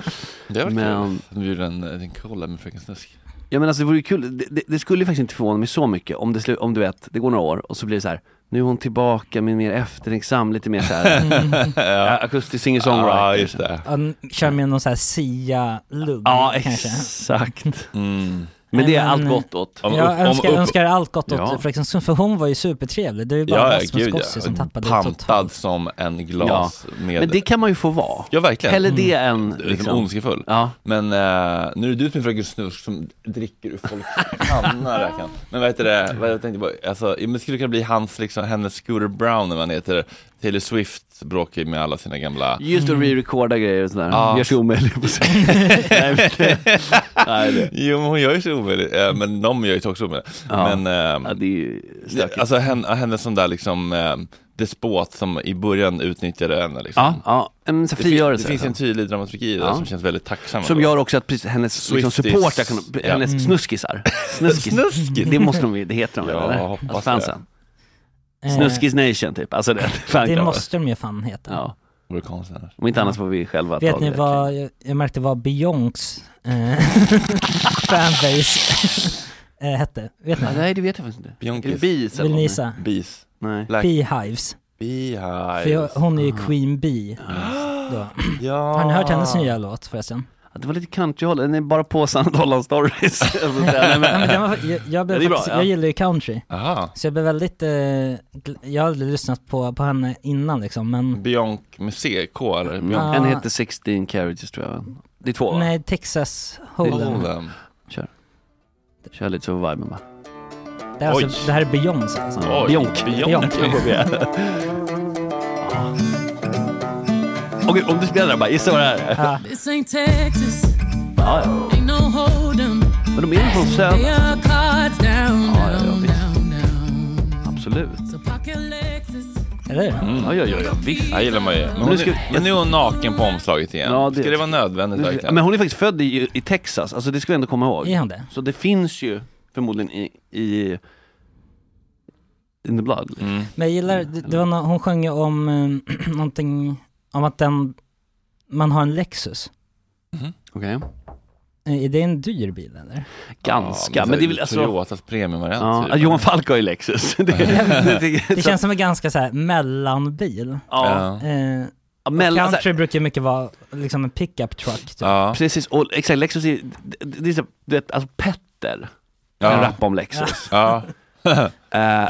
A: Det var
J: Men-
A: men... kul. Du gjorde en, en kolla med Fröken Snusk.
J: Ja men alltså det vore ju kul, det, det, det skulle ju faktiskt inte förvåna mig så mycket om det slu, om du vet, det går några år och så blir det så här. Nu är hon tillbaka med mer eftertänksam, lite mer såhär, ja. akustisk singer-songwriter.
A: Ja, just det.
B: Han kör med någon sån här sia-lugg
J: Ja,
B: Mm, kanske.
J: exakt. Men
B: Nej,
J: det är
B: men- eh,
J: allt gott åt.
B: Jag önskar, önskar allt gott åt
A: Ja.
B: Fröken Sund, för hon var ju supertrevlig. Det är ju bara
A: Ja,
B: Rasmus
A: gud ja.
B: Gossi som tappade det totalt.
A: Pantad som en glas med...
J: Men det kan man ju få vara.
A: Ja, verkligen.
J: Hellre det än...
A: Du är Liksom. Ondskefull. Men eh, nu är det du som är Fröken Snusk som dricker ur folks panna räknar. Men vad heter det, vad jag tänkte på, alltså, ja, men det skulle kunna bli hans, liksom, hennes Scooter Brown när man heter Taylor Swift bråkar ju med alla sina gamla
J: Just att re-recorda grejer och sådär.
A: Ja.
J: Gör sig omöjlig på sig. Nej, men det- Nej, det-
A: Jo men hon gör ju så omöjligt, Eh, men de gör ju så också omöjligt.
J: Ja.
A: Men, ehm,
J: Ja, det är ju stökigt.
A: alltså henne, henne sån där liksom ehm, despot som i början utnyttjade henne liksom.
J: Ja, ja. En
A: Det
J: sån
A: fin-
J: frigörelse.
A: Det finns en tydlig dramaturgi i det
J: Ja.
A: som känns väldigt tacksam.
J: Som gör också att precis hennes liksom,
A: Swifties.
J: supportrar, kan,
A: Ja.
J: hennes
A: Mm.
J: snuskisar. Snuskis.
A: Snuskis.
J: Det måste de, det heter de väl
A: Ja,
J: eller?
A: hoppas
J: Alltså, fansen.
B: det.
J: Snuskis nation typ, alltså det, fan,
B: Eh. Det
J: grabbar.
B: måste de ju fan heta.
J: Ja.
A: Vore konstnärer.
J: Om inte annars får vi själva ta
B: Vet ni
J: det.
B: vad, jag, jag märkte vad Beyoncés eh, fanbase eh, hette? Vet ni?
J: Ja, nej, det vet jag faktiskt inte.
A: Bionkis.
J: Är det bis eller
B: Vill ni
J: något?
B: gissa?
A: Bees.
J: Nej.
A: Black-
B: Beehives. För jag,
A: Beehives.
B: hon är ju Queen Bee. Då.
A: Ja.
B: Har ni hört hennes nya låt förresten?
J: Ja, det var lite countryhåll, den är bara på Sandholland stories. Jag får säga, nej,
B: Ja, men den
J: men-
B: var, jag, jag, blev
J: Ja, det är bra,
B: faktiskt,
J: ja.
B: jag gillar ju country.
A: Aha.
B: Så jag blev väldigt, eh, gl- jag har aldrig lyssnat på, på henne innan liksom, men
A: Bionk med CK eller? Bionk.
J: En heter 16 carriages tror jag. Det är två va?
B: nej, Texas Hold'em. Det,
A: Hold'em.
J: Kör. Kör lite så får viben bara.
B: är
J: Oj.
B: alltså, det här är Beyoncé alltså.
J: Ja,
A: Oj,
J: Bionk.
A: Bionk.
J: Nu får vi göra. Okej, om du spelar den bara, gissa vad det här är.
M: This ain't Texas,
J: Ja, ja.
M: ain't no hold'em.
J: Men de är ju från
M: Lay
J: Söder.
M: your cards down,
J: Ja, ja, ja,
M: down,
J: visst.
M: down, down.
J: Absolut.
M: So park your Lexus.
B: Eller
A: Mm.
J: Ja, ja, ja, ja. visst.
A: Jag gillar man ju. Men,
J: nu
A: hon,
J: ska-
A: är- men nu är hon naken på omslaget igen.
J: Ja, det-
A: Ska det vara nödvändigt verkligen?
J: Men hon är faktiskt född i, i Texas, alltså det ska vi ändå komma ihåg.
B: Är hon det?
J: Så det finns ju förmodligen i, i in the blood. liksom.
A: Mm.
B: Men jag gillar, det, det var nå- hon sjöng ju om eh, någonting, om att den, man har en Lexus.
J: Okej.
B: Eh, Är det en dyr bil eller?
J: Ganska, men det är väl alltså...
A: Toyotas premiumvariant
J: Ja,
A: typ.
J: Johan Falk har ju Lexus. Det, det,
B: Det känns som en ganska så här mellanbil.
J: Ja,
B: Eh,
J: ja,
B: och
J: mellan, så
B: country
J: här,
B: brukar mycket vara liksom en pickup truck typ.
A: Ja.
J: precis, och exakt, Lexus är, det, det är så, du vet, alltså Petter kan
A: Ja.
J: rappa om Lexus.
A: ja.
J: Eh,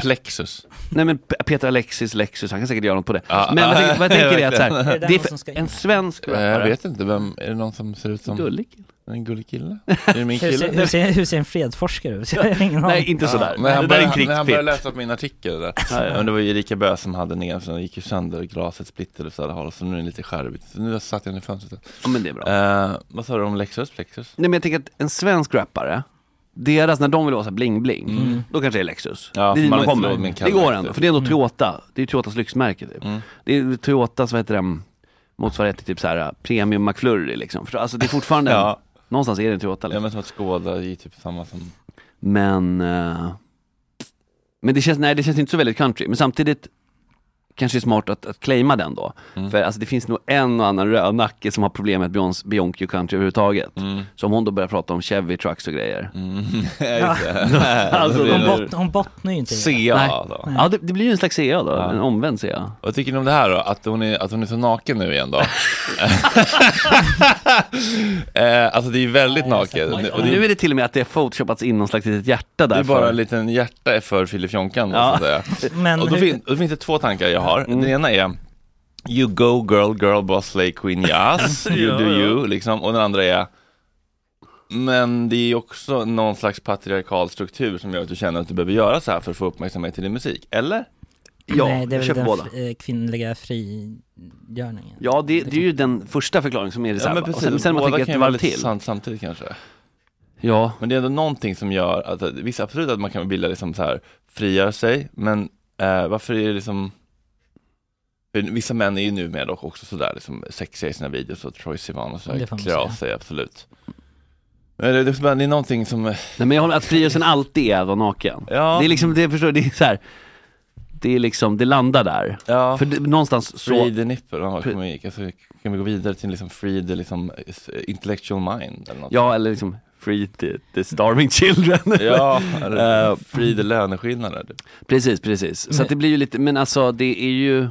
A: Plexus.
J: nej men P- Peter Alexis, Lexus, han kan säkert göra något på det.
A: Ja.
J: Men vad jag tänker- vad jag tänker är att så
A: Verkligen.
J: här,
B: Är det
J: det är
B: den som ska
J: för-
B: in?
J: en svensk
A: Eh, Jag
J: rappare.
A: vet inte, vem, är det någon som ser ut som
J: Gullig.
A: en gullig kille? Är det min
B: Hur ser,
A: kille?
B: hur, ser, hur ser en fredsforskare ut? Jag har ingen
J: Nej,
B: aning.
J: inte sådär.
A: Men han
J: det där är en
A: började, när han började
J: krigspitt.
A: läsa på min artikel där.
J: Ja, ja.
A: Men det var ju Erika Bö som hade ner, så den gick ju sönder, glaset splittrades åt alla håll, så nu är den lite skärvig. Så nu satt jag den i fönstret.
J: Ja, men det är bra.
A: Eh, vad sa du om Lexus? Plexus?
J: Nej men jag tänker att en svensk rappare, deras, när de vill vara så här bling-bling, då kanske det är Lexus.
A: Mm. Ja,
J: det är dit
A: man har
J: man
A: inte råd med
J: kommer.
A: en
J: Det
A: Cadillac,
J: går ändå,
A: typ.
J: för det är ändå Toyota. Det är ju Toyotas lyxmärke typ.
A: Mm.
J: Det är Toyotas, vad heter den, motsvarighet till typ så här Premium McFlurry liksom. För, alltså det är fortfarande,
A: Ja.
J: någonstans är det en Toyota
A: Ja
J: liksom.
A: men som att Skoda är ju typ samma som...
J: Men, eh, men det känns, nej det känns inte så väldigt country. Men samtidigt kanske det är smart att, att claima den då. För alltså det finns nog en och annan rödnacke som har problem med att Beyoncé- Beyoncé country överhuvudtaget.
A: Mm.
J: Så om hon då börjar prata om Chevy trucks och grejer.
A: Mm. Ja, just det.
J: Alltså,
A: Det är
B: Hon,
A: nog-
B: bott, hon bottnar ju inte i det.
A: CA då.
J: Ja, det, det blir ju en slags CA då,
A: Ja.
J: en omvänd CA.
A: Vad tycker ni om det här då? Att hon är, att hon är så naken nu igen då? eh, alltså det är ju väldigt naken.
J: Och,
A: Och det,
J: nu
A: är-
J: är det till och med att det har photoshopats in någon slags litet hjärta där.
A: det är bara
J: för-
A: en liten hjärta för Filifjonkan då,
J: Ja.
A: så att säga.
B: Men
A: Och då,
B: hur,
A: fin, då finns det två tankar jag har. Den ena är You go girl, girl boss, slay queen, yes, you
J: Ja,
A: do
J: ja.
A: you, liksom. Och den andra är Men det är ju också någon slags patriarkal struktur som gör att du känner att du behöver göra så här för att få uppmärksamhet till din musik, eller?
B: Nej, det är väl den fri- eh, kvinnliga frigörningen.
J: Ja, det, det är ju den första förklaringen som är det
A: Ja, men
J: samma.
A: precis,
J: och sen, sen man
A: båda
J: tänker
A: kan ju
J: att det var
A: vara
J: till.
A: lite sant samtidigt kanske.
J: Ja.
A: Men det är ändå någonting som gör att, att visst absolut att man kan vilja liksom så här frigöra sig, men eh, varför är det liksom för Vissa män är ju numera dock också sådär liksom sexiga i sina videos och Troye Sivan och
J: Det
A: sådär,
J: får man
A: klär av sig absolut. Men det, det, det är någonting som... Nej
J: men jag håller att frigörelsen alltid är att vara naken.
A: Ja.
J: Det är liksom, det förstår du, det är så här. Det är liksom, det landar där.
A: Ja.
J: För det, någonstans så...
A: Free the nipple, ja, kan, vi, alltså, kan vi gå vidare till liksom free the liksom, intellectual mind eller något?
J: Ja, eller liksom Free the, the starving children.
A: Ja, eller
J: Eh,
A: free the löneskillnader. typ.
J: Precis, precis. Så att det blir ju lite, men alltså det är ju,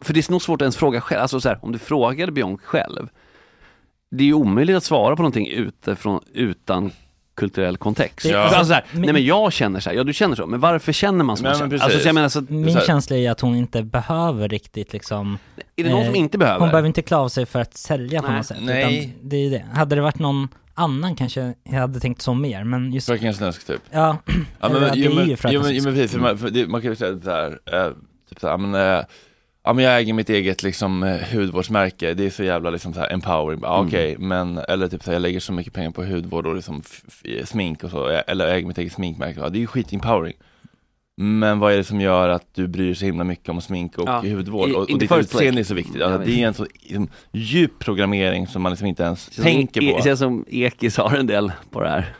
J: för det är nog svårt att ens fråga själv, alltså så här, om du frågade Björn själv, det är ju omöjligt att svara på någonting utifrån, utan kulturell kontext.
B: Ja.
J: Alltså så här, nej men jag känner så här, ja du känner så, men varför känner man så? man känner? alltså, så jag menar, så,
B: Min
J: så här,
B: känsla är ju att hon inte behöver riktigt liksom
J: Är det någon som inte behöver?
B: Hon behöver inte klä av sig för att sälja på
J: Nej.
B: något sätt
J: Nej.
B: Utan det är ju det. Hade det varit någon annan kanske jag hade tänkt så mer men just
A: Fröken Snusk typ?
B: Ja,
A: ja men,
B: eller att
A: jo,
B: det är
A: men,
B: ju
A: jo, men,
B: Fröken
A: jo, men
B: Snusk.
A: precis, för man, för det, man kan ju säga såhär, eh, typ såhär, men, eh, ja men jag äger mitt eget liksom eh, hudvårdsmärke, det är så jävla liksom såhär empowering, ah,
J: Mm.
A: okej, men eller typ såhär, jag lägger så mycket pengar på hudvård och liksom f- f- smink och så, eller jag äger mitt eget sminkmärke, ja, det är ju skitempowering. Men vad är det som gör att du bryr sig himla mycket om smink och
J: Ja,
A: hudvård?
J: i-
A: Och,
J: in
A: och
J: the
A: ditt
J: first place.
A: utseende är så viktigt.
J: Jag
A: Alltså,
J: vet.
A: det är en så liksom, djup programmering som man liksom inte ens
J: som- E-
A: tänker på.
J: Det känns som Ekis har en del på det här.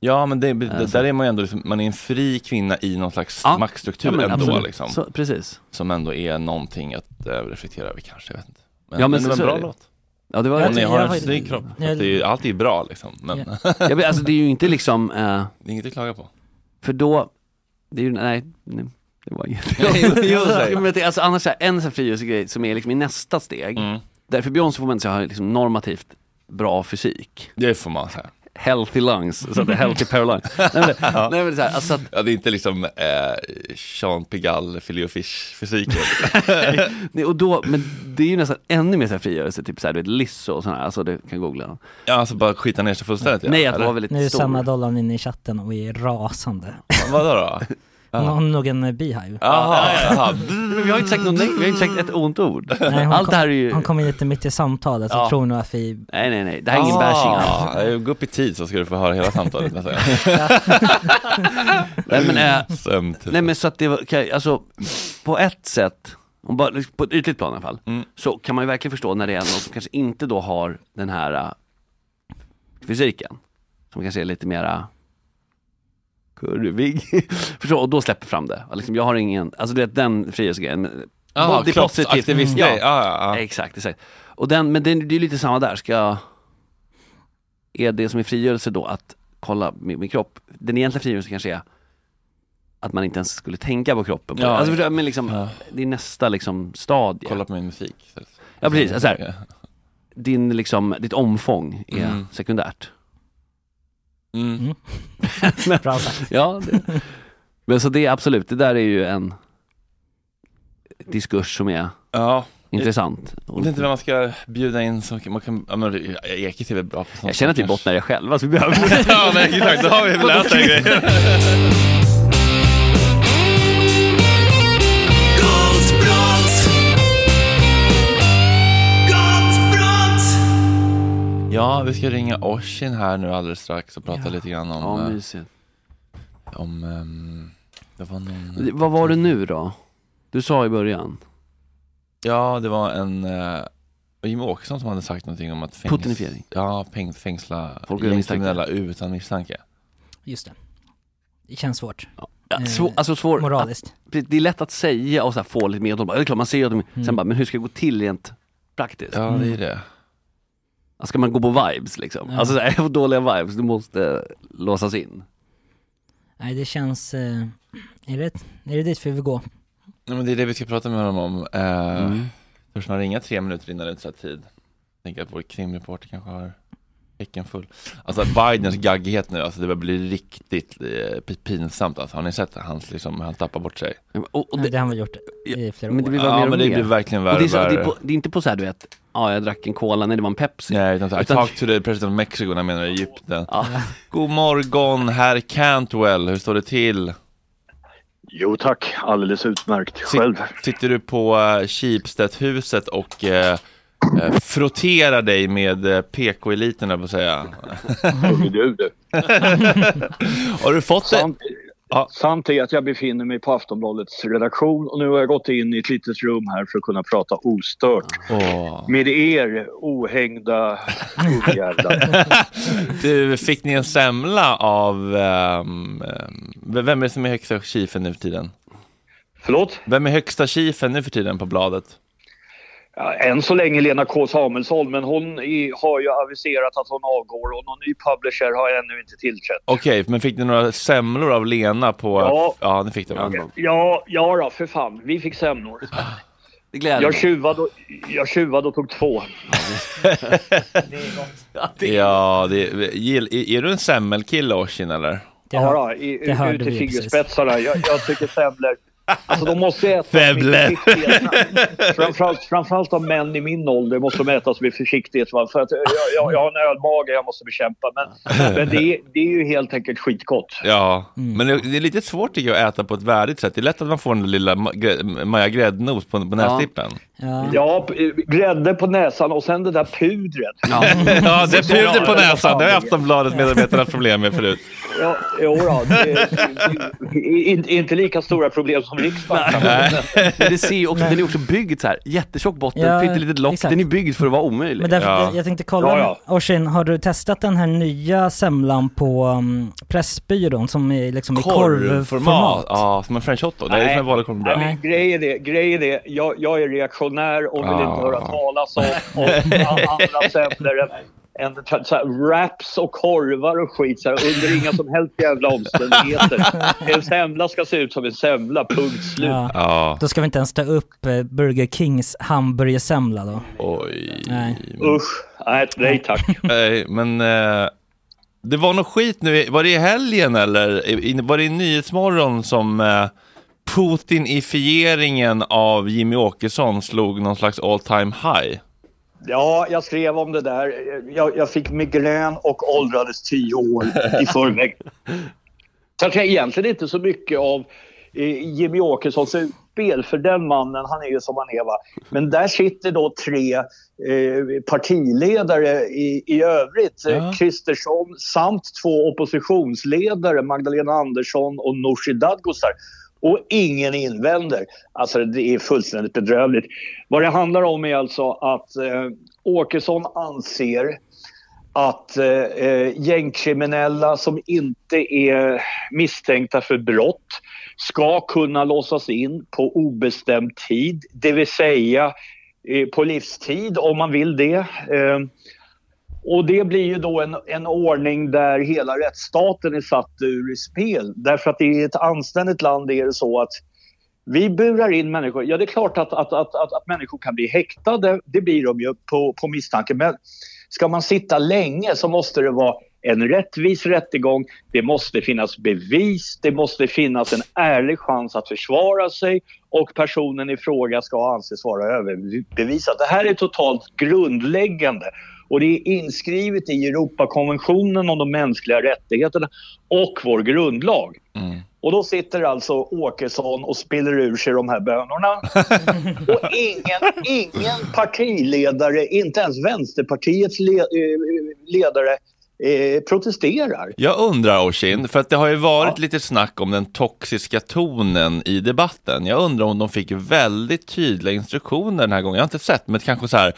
A: Ja men det, det,
J: Alltså.
A: där är man ju ändå liksom, man är en fri kvinna i någon slags
J: Ja.
A: maktstruktur
J: Ja, men
A: ändå
J: absolut.
A: liksom.
J: Så, precis.
A: Som ändå är någonting att eh, reflektera över kanske, jag vet inte. Men,
J: Ja, men
A: men,
J: så-
A: det var
J: så
A: en bra
J: är det.
A: låt.
J: Ja, det var-
A: och ni
J: Jag-
A: har
J: jag-
A: en snygg kropp, så
J: jag-
A: att det är, ju- allt är ju bra liksom. Men,
J: Ja, men, alltså det är ju inte liksom... eh,
A: det är inget att klaga på.
J: För då, det är ju, nej, nej det var inget.
A: Jo, säg.
J: Jo, men det- alltså, annars så här, en sån här frigörelsegrej som är liksom i nästa steg,
A: Mm.
J: därför Beyoncé får man inte säga har liksom normativt bra fysik.
A: Det får man säga.
J: Healthy lungs, så att det är healthy pair of lungs. Nej, men, det- nej, men det är så här, alltså att,
A: Ja, det är inte liksom eh, Jean Pigalle, Filio Fish fysiken.
J: nej, och då, men det är ju nästan ännu mer så här frigörelse, typ så här, du vet, Lizzo och sådana här, alltså du kan googla dem.
A: ja, alltså bara skita ner sig fullständigt. ja,
J: Nej, att vara
A: eller?
J: väldigt
B: Nu är
J: stor.
B: samma dollarn inne i chatten och är rasande
A: Vadå då?
B: Hon har nog en eh, beehive
A: Jaha, jaha.
J: Men vi har inte sagt något, vi har inte sagt ett ont ord.
B: Nej, hon
J: Allt det här är
B: kom-
J: ju...
B: Hon kommer lite mitt i samtalet och
J: Ja.
B: tror nog att vi
J: Nej, nej, nej, det här är ingen bashing alls.
A: Ah, eh, Gå upp i tid så ska du få höra hela samtalet nästa gång.
J: Nej men, eh,
A: Sömntid.
J: nej men så att det var, kan, alltså på ett sätt, om bara, liksom, på ett ytligt plan i alla fall,
A: Mm.
J: så kan man ju verkligen förstå när det är någon som kanske inte då har den här eh, fysiken, som kanske är lite mera kurvig, förstå, och då släpper fram det. Liksom, jag har ingen, alltså du vet den frihetsgrejen.
A: Ja,
J: Body positive.
A: kroppsaktivistgrej. Ah, Ja, ja, ja.
J: Exakt, exakt. Och den, men det, det är lite samma där, ska, är det som är frigörelse då att kolla min, min kropp, den egentliga frigörelsen kanske är att man inte ens skulle tänka på kroppen.
A: Ja,
J: alltså,
A: ja.
J: förstår jag, men liksom, Det är nästa liksom, stadie.
A: Kolla på min musik.
J: Ja precis, alltså, så här, din, liksom, ditt omfång är
A: Mm.
J: sekundärt.
A: Mm.
B: Bra sagt
J: Ja, det. Men så det är absolut, det där är ju en diskurs som är
A: Ja.
J: intressant.
A: Jag vet inte vem man ska bjuda in som man kan, ja men Ekis är väl bra på sånt.
J: Jag känner att vi bottnar i det själva, så vi behöver
A: Ja, nej, exakt, då har vi väl löst den grejen. Ja, vi ska ringa Oshin här nu alldeles strax och prata lite grann om...
J: Ja,
A: eh,
J: mysigt.
A: om ehm, det var någon...
J: Det- Vad var det nu då? Du sa i början.
A: Ja, det var en... Uh, Jimmie Åkesson som hade sagt någonting om att... fängs-
J: Putinifiering.
A: Ja, fäng- fängsla
J: Folk utan
A: gängkriminella utan misstanke.
B: Just det Det känns svårt
J: Ja,
B: Eh,
J: svår, alltså svår,
B: Moraliskt
J: att- precis, det är lätt att säga och så här få lite medhåll. Bara, Det är klart, man säger att de,
B: Mm.
J: sen bara, men hur ska det gå till rent praktiskt?
A: Ja, det är det.
J: Alltså, Ska man gå på vibes liksom?
B: Ja.
J: Alltså så här, jag får dåliga vibes, du måste eh, låsas in.
B: Nej det känns, eh, är, det, är det dit vi vill gå?
A: Ja, men det är det vi ska prata med honom om. Eh,
J: Mm.
A: Törs man ringa tre minuter innan utsatt tid? Jag tänker att vår krimreporter kanske har Häckenfull. Alltså Bidens gaggighet nu, alltså det börjar bli riktigt eh, p- pinsamt. Alltså, har ni sett hans, liksom, hur han tappar bort sig?
B: Ja, det har han väl gjort i flera år.
J: Men det blir bara
A: Ja,
J: mer och
A: men det
J: mer.
A: blir verkligen värre
J: och det, är så,
A: och
J: det, är
A: värre.
J: på, det är inte på så här du vet, ja jag drack en cola, nej det var en Pepsi.
A: Nej, utan så här, I
J: Utan-
A: talked to the president of Mexico när jag menar Egypten. God morgon, herr Cantwell, hur står det till?
N: Jo tack, alldeles utmärkt. Själv?
A: Sitter du på uh, Schibsted-huset och eh, eh, frotterar dig med eh, PK-eliten, höll jag på att säga?
N: Gud.
A: Har du fått det?
N: Sant, sant är att jag befinner mig på Aftonbladets redaktion och nu har jag gått in i ett litet rum här för att kunna prata ostört med er ohängda ungjävlar.
A: Du, fick ni en semla av... ehm, ehm, vem är det som är högsta chiefen nu för tiden?
N: Förlåt?
A: Vem är högsta chiefen nu för tiden på bladet?
N: Ja, Än så länge Lena K Samuelsson, men hon i, har ju aviserat att hon avgår och någon ny publisher har ännu inte tillträtt.
A: Okej, men fick ni några semlor av Lena på...
N: Ja.
A: ja ni fick det. va?
N: Ja, ja då, för fan. Vi fick semlor.
J: Det
A: gläder
N: jag,
A: mig.
N: tjuvade och, jag tjuvade och tog två.
A: Ja, det är, gill- är, är du en semmelkille Oshin eller?
N: Det har, ja, då, i,
A: det hörde
N: ut
A: vi
N: i
A: precis.
N: fingerspetsarna. Jag, jag tycker semlor. Alltså de måste ätas
A: Semlor.
N: med försiktighet. Framförallt, framförallt av män i min ålder måste de ätas med försiktighet. Va? För att jag, jag, jag har en ölmage jag måste bekämpa. Men, men det, är, det är ju helt enkelt skitgott.
A: Ja,
J: Mm.
A: men det, det är lite svårt tycker jag att äta på ett värdigt sätt. Det är lätt att man får den lilla ma- grä- Maja Gräddnos på, på nästippen.
N: Ja. p- grädde på näsan och sen det där pudret.
A: Ja, det är puder på näsan. Det har Aftonbladet medarbetarna problem med förut.
N: Ja, jo då, det, i- in, inte lika stora problem som riksbanken.
J: Men det ser ju också, den är också byggd så här, jättetjock botten,
B: Ja,
J: pyttelitet lock,
B: exakt.
J: den är byggd för att vara omöjlig.
B: Men därför, jag tänkte
J: Ja,
B: kolla,
J: ja.
B: Orsin, har du testat den här nya semlan på um, Pressbyrån som är liksom i korvformat?
A: Ja, som en french hot dog. Nej, det är som en vanlig korvbröd.
N: Nej, men grejen är, grejen är jag, jag är reaktionär och vill
A: Ah.
N: inte höra talas om, om a- andra semlor än, än tra- så här, wraps och korvar och skit så här, under inga som helst jävla omständigheter. En semla ska se ut som en semla, punkt slut.
B: Ja. Då ska vi inte ens ta upp eh, Burger Kings hamburgersemla då.
A: Oj.
B: Nej.
N: Usch, nej, nej tack.
A: Nej, men eh, det var något skit nu. i- Var det i helgen eller? I- i- Var det i Nyhetsmorgon som eh, Putinifieringen av Jimmy Åkesson slog någon slags all time high?
N: Ja, jag skrev om det där. Jag, jag fick migrän och åldrades tio år i förväg. Så att jag egentligen inte så mycket av eh, Jimmy Åkessons utspel, för den mannen, han är ju som han är. Va? Men där sitter då tre eh, partiledare i, i övrigt. Eh, Kristersson samt två oppositionsledare, Magdalena Andersson och Nooshi Dadgostar. Och ingen invänder. Alltså det är fullständigt bedrövligt. Vad det handlar om är alltså att eh, Åkesson anser att eh, eh, gängkriminella som inte är misstänkta för brott ska kunna låsas in på obestämd tid, det vill säga eh, på livstid om man vill det. Eh, och det blir ju då en, en ordning där hela rättsstaten är satt ur spel. Därför att i ett anständigt land är det så att vi burar in människor. Ja, det är klart att, att, att, att, att människor kan bli häktade. Det blir de ju på, på misstanke. Men ska man sitta länge så måste det vara en rättvis rättegång. Det måste finnas bevis. Det måste finnas en ärlig chans att försvara sig. Och personen i fråga ska anses vara överbevisad. Det här är totalt grundläggande. Och det är inskrivet i Europakonventionen om de mänskliga rättigheterna och vår grundlag. Och då sitter alltså Åkesson och spiller ur sig de här bönorna. och ingen, ingen partiledare, inte ens Vänsterpartiets le, eh, ledare, eh, protesterar.
A: Jag undrar Oshin, för att det har ju varit lite snack om den toxiska tonen i debatten. Jag undrar om de fick väldigt tydliga instruktioner den här gången. Jag har inte sett, men kanske så här.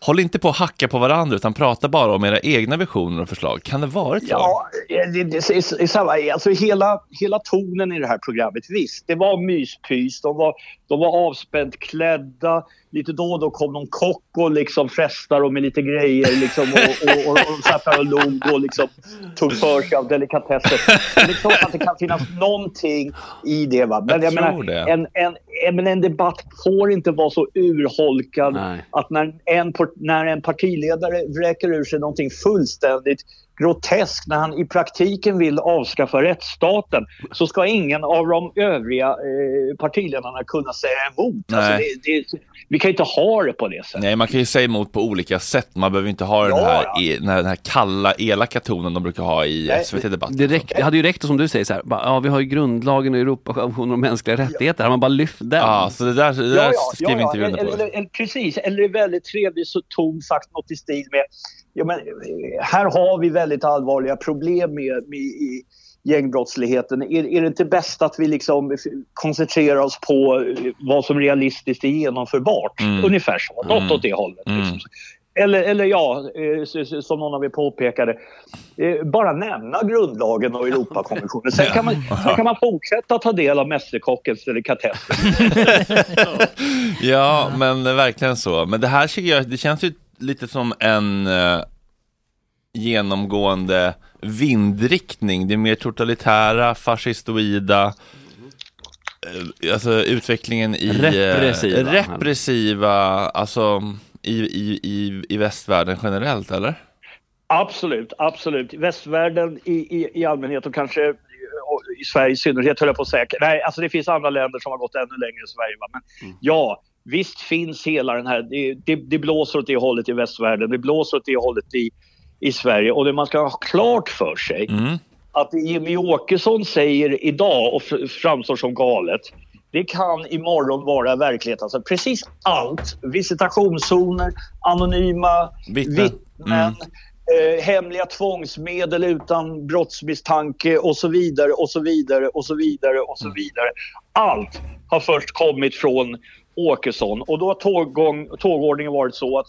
A: Håll inte på att hacka på varandra utan prata bara om era egna visioner och förslag. Kan det varit så?
N: Ja, eh, det, det, det, det, samma, alltså hela, hela tonen i det här programmet, visst, det var myspys. De var, de var avspänt klädda. Lite då och då kom någon kock och liksom frestade dem med lite grejer. Liksom, och, och, och, och de satt där och log och liksom, tog för sig av delikatesser. Det är klart att det kan finnas någonting i det. Va? Men
A: Jag
N: jag,
A: tror
N: menar,
A: det.
N: en, en, en, men en debatt får inte vara så urholkad
J: Nej.
N: att när en, por- när en partiledare vräker ur sig någonting fullständigt groteskt när han i praktiken vill avskaffa rättsstaten så ska ingen av de övriga eh, partiledarna kunna säga emot. Alltså,
A: Nej.
N: det, det, vi kan inte ha det på det sättet.
A: Nej, man kan ju säga emot på olika sätt. Man behöver inte ha den, här, i, den, här, den här kalla, elaka tonen de brukar ha i SVT-debatt.
J: Det, räck, det hade ju räckt som du säger, så här, bara, ja, vi har ju grundlagen och Europakonventionen om mänskliga rättigheter, hade man bara lyft den.
A: Ja, så det där, det där skrev inte vi under
N: eller,
A: på.
N: eller, eller, precis, eller i väldigt trevlig så ton sagt något i stil med ja, men, eh, här har vi väldigt allvarliga problem med, med i gängbrottsligheten. Är, är det inte bäst att vi liksom f- koncentrerar oss på eh, vad som realistiskt är genomförbart?
I: Mm.
N: Ungefär så, något
I: Mm.
N: åt det hållet. Liksom. Eller, eller ja, eh, s- s- som någon av er påpekade, eh, bara nämna grundlagen och Europakonventionen. Sen kan, man, sen kan man fortsätta ta del av Mästerkockens delikatesser.
A: Ja, men verkligen så. Men det här tycker jag, det känns ju lite som en eh, genomgående vindriktning. Det är mer totalitära, fascistoida, eh, alltså utvecklingen i eh,
J: Repressiva.
A: repressiva alltså i, i, i, i västvärlden generellt, eller?
N: Absolut, absolut. Västvärlden i, i, i allmänhet och kanske eh, och i Sverige i synnerhet höll jag på att säga. Nej, alltså det finns andra länder som har gått ännu längre än Sverige. Va? Men ja, visst finns hela den här... Det, det, det blåser åt det hållet i västvärlden, det blåser åt det hållet i, i Sverige. Och det man ska ha klart för sig att det Jimmy Åkesson säger idag och f- framstår som galet, det kan imorgon vara verklighet. Alltså precis allt, visitationszoner, anonyma vittnen, eh, hemliga tvångsmedel utan brottsmisstanke och så vidare och så vidare och så vidare och så vidare. Allt har först kommit från Åkesson och då har tåggång, tågordningen varit så att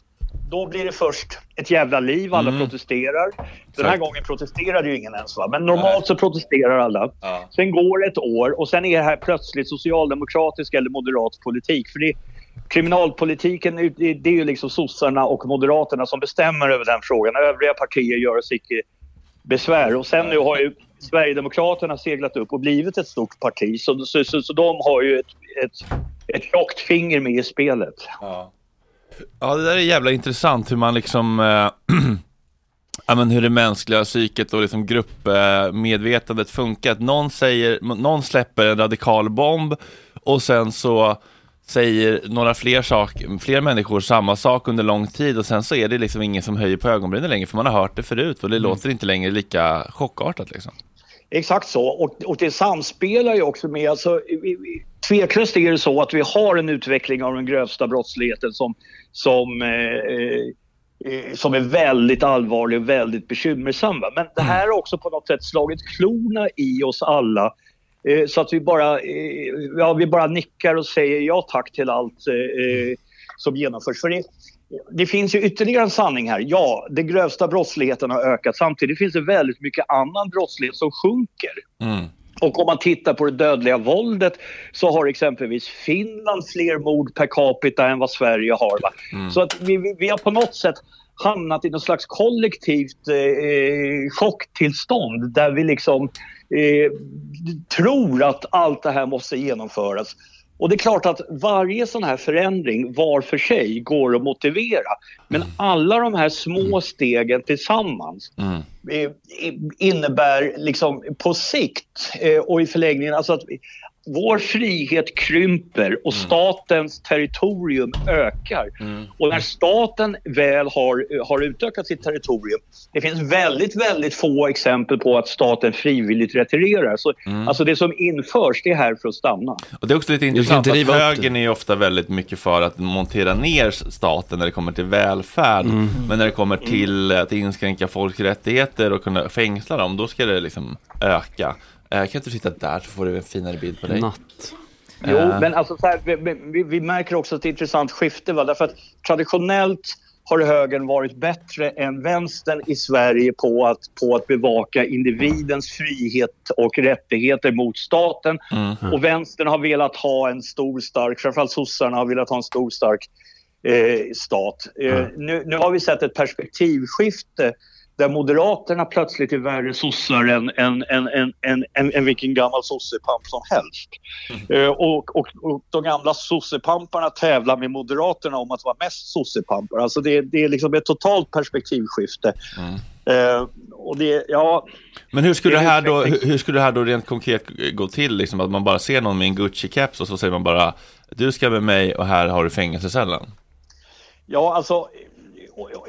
N: då blir det först ett jävla liv, alla protesterar. Den här
I: Exakt.
N: gången protesterade ju ingen ens va? men normalt så protesterar alla. Sen går ett år och sen är det här plötsligt socialdemokratisk eller moderat politik. För det, kriminalpolitiken, ut- det det är ju liksom sossarna och moderaterna som bestämmer över den frågan. Övriga partier gör sig icke besvär. Och sen nu har ju Sverigedemokraterna seglat upp och blivit ett stort parti. Så, så, så, så de har ju ett, ett, ett tjockt finger med i spelet.
A: Ja, det där är jävla intressant hur man liksom, eh, ja men hur det mänskliga psyket och liksom gruppmedvetandet funkar. Att någon säger, någon släpper en radikal bomb och sen så säger några fler, sak, fler människor samma sak under lång tid och sen så är det liksom ingen som höjer på ögonbrynen längre för man har hört det förut och det låter inte längre lika chockartat liksom.
N: Exakt så. Och, och det samspelar ju också med... Alltså, vi- vi- tveklöst är det så att vi har en utveckling av den grövsta brottsligheten som, som, eh, eh, eh, som är väldigt allvarlig och väldigt bekymmersam. va? Men det här har också på något sätt slagit klorna i oss alla eh, så att vi bara, eh, ja, vi bara nickar och säger ja tack till allt eh, eh, som genomförs. För det, det finns ju ytterligare en sanning här. Ja, den grövsta brottsligheten har ökat. Samtidigt finns det väldigt mycket annan brottslighet som sjunker. Och om man tittar på det dödliga våldet så har exempelvis Finland fler mord per capita än vad Sverige har. Va? Så att vi, vi, vi har på något sätt hamnat i något slags kollektivt eh, chocktillstånd där vi liksom eh, tror att allt det här måste genomföras. Och det är klart att varje sån här förändring var för sig går att motivera. Men alla de här små stegen tillsammans eh, innebär liksom på sikt eh, och i förlängningen alltså att vår frihet krymper och statens territorium ökar. Och när staten väl har, har utökat sitt territorium, det finns väldigt, väldigt få exempel på att staten frivilligt retirerar. Så, Alltså det som införs, det är här för att stanna.
A: Och det är också lite
N: kan
A: intressant
N: inte
A: att
N: riva upp
A: högern är ju ofta väldigt mycket för att montera ner staten när det kommer till välfärd.
N: Mm.
A: Men när det kommer till att inskränka folks rättigheter och kunna fängsla dem, då ska det liksom öka. Eh, Kan inte du sitta där så får du en finare bild på dig?
J: Natt.
N: Jo, men alltså så här, vi, vi, vi märker också ett intressant skifte. Va? Därför att traditionellt har högern varit bättre än vänstern i Sverige på att, på att bevaka individens frihet och rättigheter mot staten.
I: Mhm.
N: Och vänstern har velat ha en stor stark, framförallt sossarna har velat ha en stor stark eh, stat. Eh, nu, nu har vi sett ett perspektivskifte där Moderaterna plötsligt är värre sossar än, än, än, än, än, än, än vilken gammal sossepamp som helst. Eh, och, och, och de gamla sossepamparna tävlar med Moderaterna om att vara mest sossepampar. Alltså det, är- det är liksom ett totalt perspektivskifte. Eh, och det, ja,
A: Men hur skulle,
N: Det
A: det
N: är
A: här då, hur hur skulle det här då rent konkret gå till? Liksom att man bara ser någon med en Gucci-keps och så säger man bara du ska med mig och här har du fängelsecellen.
N: Ja, alltså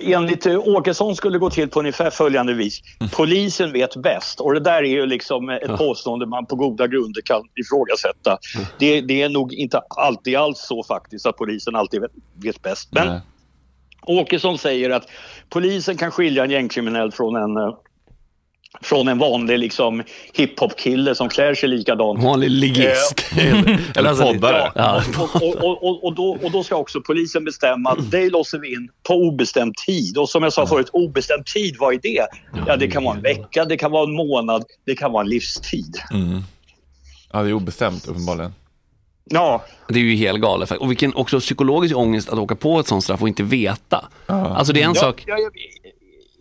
N: enligt eh, Åkesson skulle det gå till på ungefär följande vis. Polisen vet bäst och det där är ju liksom ett
I: Ja.
N: påstående man på goda grunder kan ifrågasätta. Det, det är nog inte alltid alls så faktiskt att polisen alltid vet, vet bäst. Men
A: Nej.
N: Åkesson säger att polisen kan skilja en gängkriminell från en eh, från en vanlig liksom, hiphop-kille som klär sig likadant.
J: Vanlig liggist. Eller alltså- poddare.
N: Ja,
J: Ja.
N: och, och, och, och, och, då, och då ska också polisen bestämma att dig låser vi in på obestämd tid. Och som jag sa förut, obestämd tid, vad är det? Ja, det kan vara en vecka, det kan vara en månad, det kan vara en livstid.
A: Mm. Ja, det är obestämt uppenbarligen.
N: Ja.
J: Det är ju helt galet. Och vilken också psykologisk ångest att åka på ett sånt straff och inte veta. Alltså det är en
N: Ja,
J: sak,
N: ja, ja,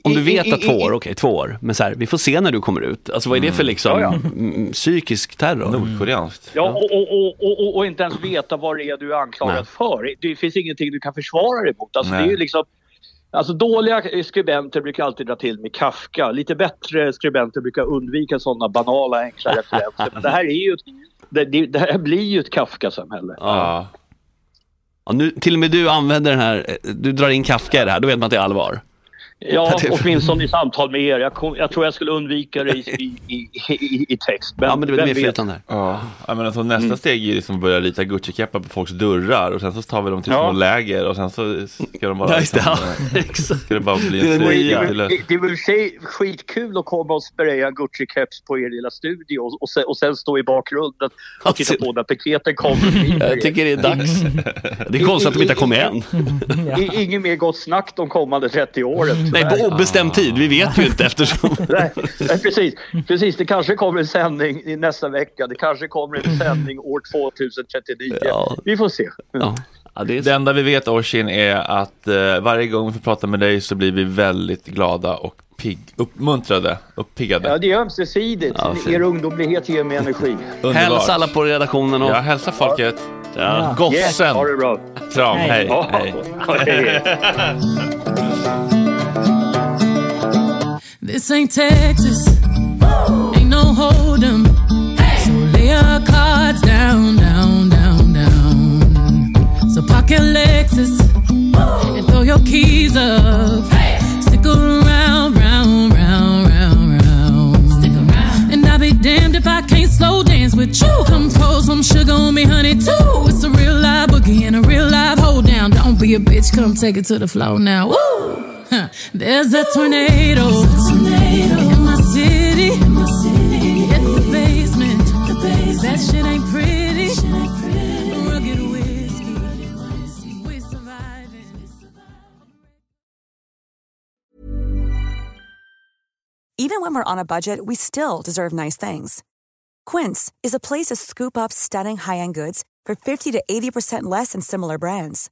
J: om du
N: i-
J: vet
N: i-
J: att två
N: i-
J: år, okej två år, men så här, vi får se när du kommer ut. Alltså vad är det för liksom
N: Ja,
J: mm, psykisk terror?
A: Nordkoreanskt.
N: Ja, och, och, och, och, och, och inte ens veta vad det är du är anklagad
J: Nej.
N: för. Det finns ingenting du kan försvara dig mot. Alltså, det
J: Nej.
N: är ju liksom, alltså, dåliga skribenter brukar alltid dra till med Kafka. Lite bättre skribenter brukar undvika sådana banala, enkla referenser. Men det här, är ju ett, det, det, det här blir ju ett Kafka-samhälle.
J: Ja. Ja, nu, till och med du använder den här, eh, du drar in Kafka i det här, då vet man att det är allvar.
N: Ja,
J: Det är-
N: åtminstone i samtal med er. Jag, kom, jag tror jag skulle undvika det i, i, i, i, i text. Men, vem vet?
A: Ja, Ja, men alltså, nästa steg är ju liksom att börja rita Gucci-keppar på folks dörrar och sen så tar vi dem till
N: Ja.
A: små läger och sen så ska de bara...
J: Ja, just det. Ja,
A: liksom, ska det bara bli
J: Det är
A: en
J: en
A: slöja.
J: idé.
A: till lös-
N: Det, det är väl i och för sig skitkul att komma och spraya Gucci-keps på er lilla studio och, och, sen, och sen stå i bakgrunden och titta på när piketen kommer.
J: Jag tycker det är dags. Det är konstigt att de inte har kommit än.
N: I- Mm. i- Inget mer gott snack de kommande 30 åren.
J: Nej, på
N: tyvärr.
J: obestämd tid, vi vet ju inte eftersom.
N: Nej, nej, precis. precis. Det kanske kommer en sändning i nästa vecka. Det kanske kommer en sändning år 2039. Vi får se.
J: det,
A: enda vi vet Oisin är att eh, varje gång vi får prata med dig så blir vi väldigt glada och pigg, uppmuntrade, uppiggade.
N: Ja, det är ömsesidigt.
A: Ja, fint.
N: er ungdomlighet ger mig energi.
A: Underbart.
J: Hälsa alla på redaktionen och...
A: Ja, hälsa folket.
J: Ja.
A: Gossen.
N: Yes, ha det bra.
A: Kram, hej.
N: Hej. Ja, hej.
M: This ain't Texas. Ain't no hold'em. So lay your cards down, down, down, down. So pocket Lexus and throw your keys up. Stick around, round, round, round, round. Stick around. And I'll be damned if I can't slow dance with you. Come throw some sugar on me, honey, too. It's a real live boogie and a real live hold down. Don't be a bitch, come take it to the floor now. Woo! Huh. There's a tornado. In my city. Hit the basement. That shit ain't pretty. Rugged whiskey. We surviving.
O: Even when we're on a budget, we still deserve nice things. Quince is a place to scoop up stunning high end goods for 50 to 80% less than similar brands.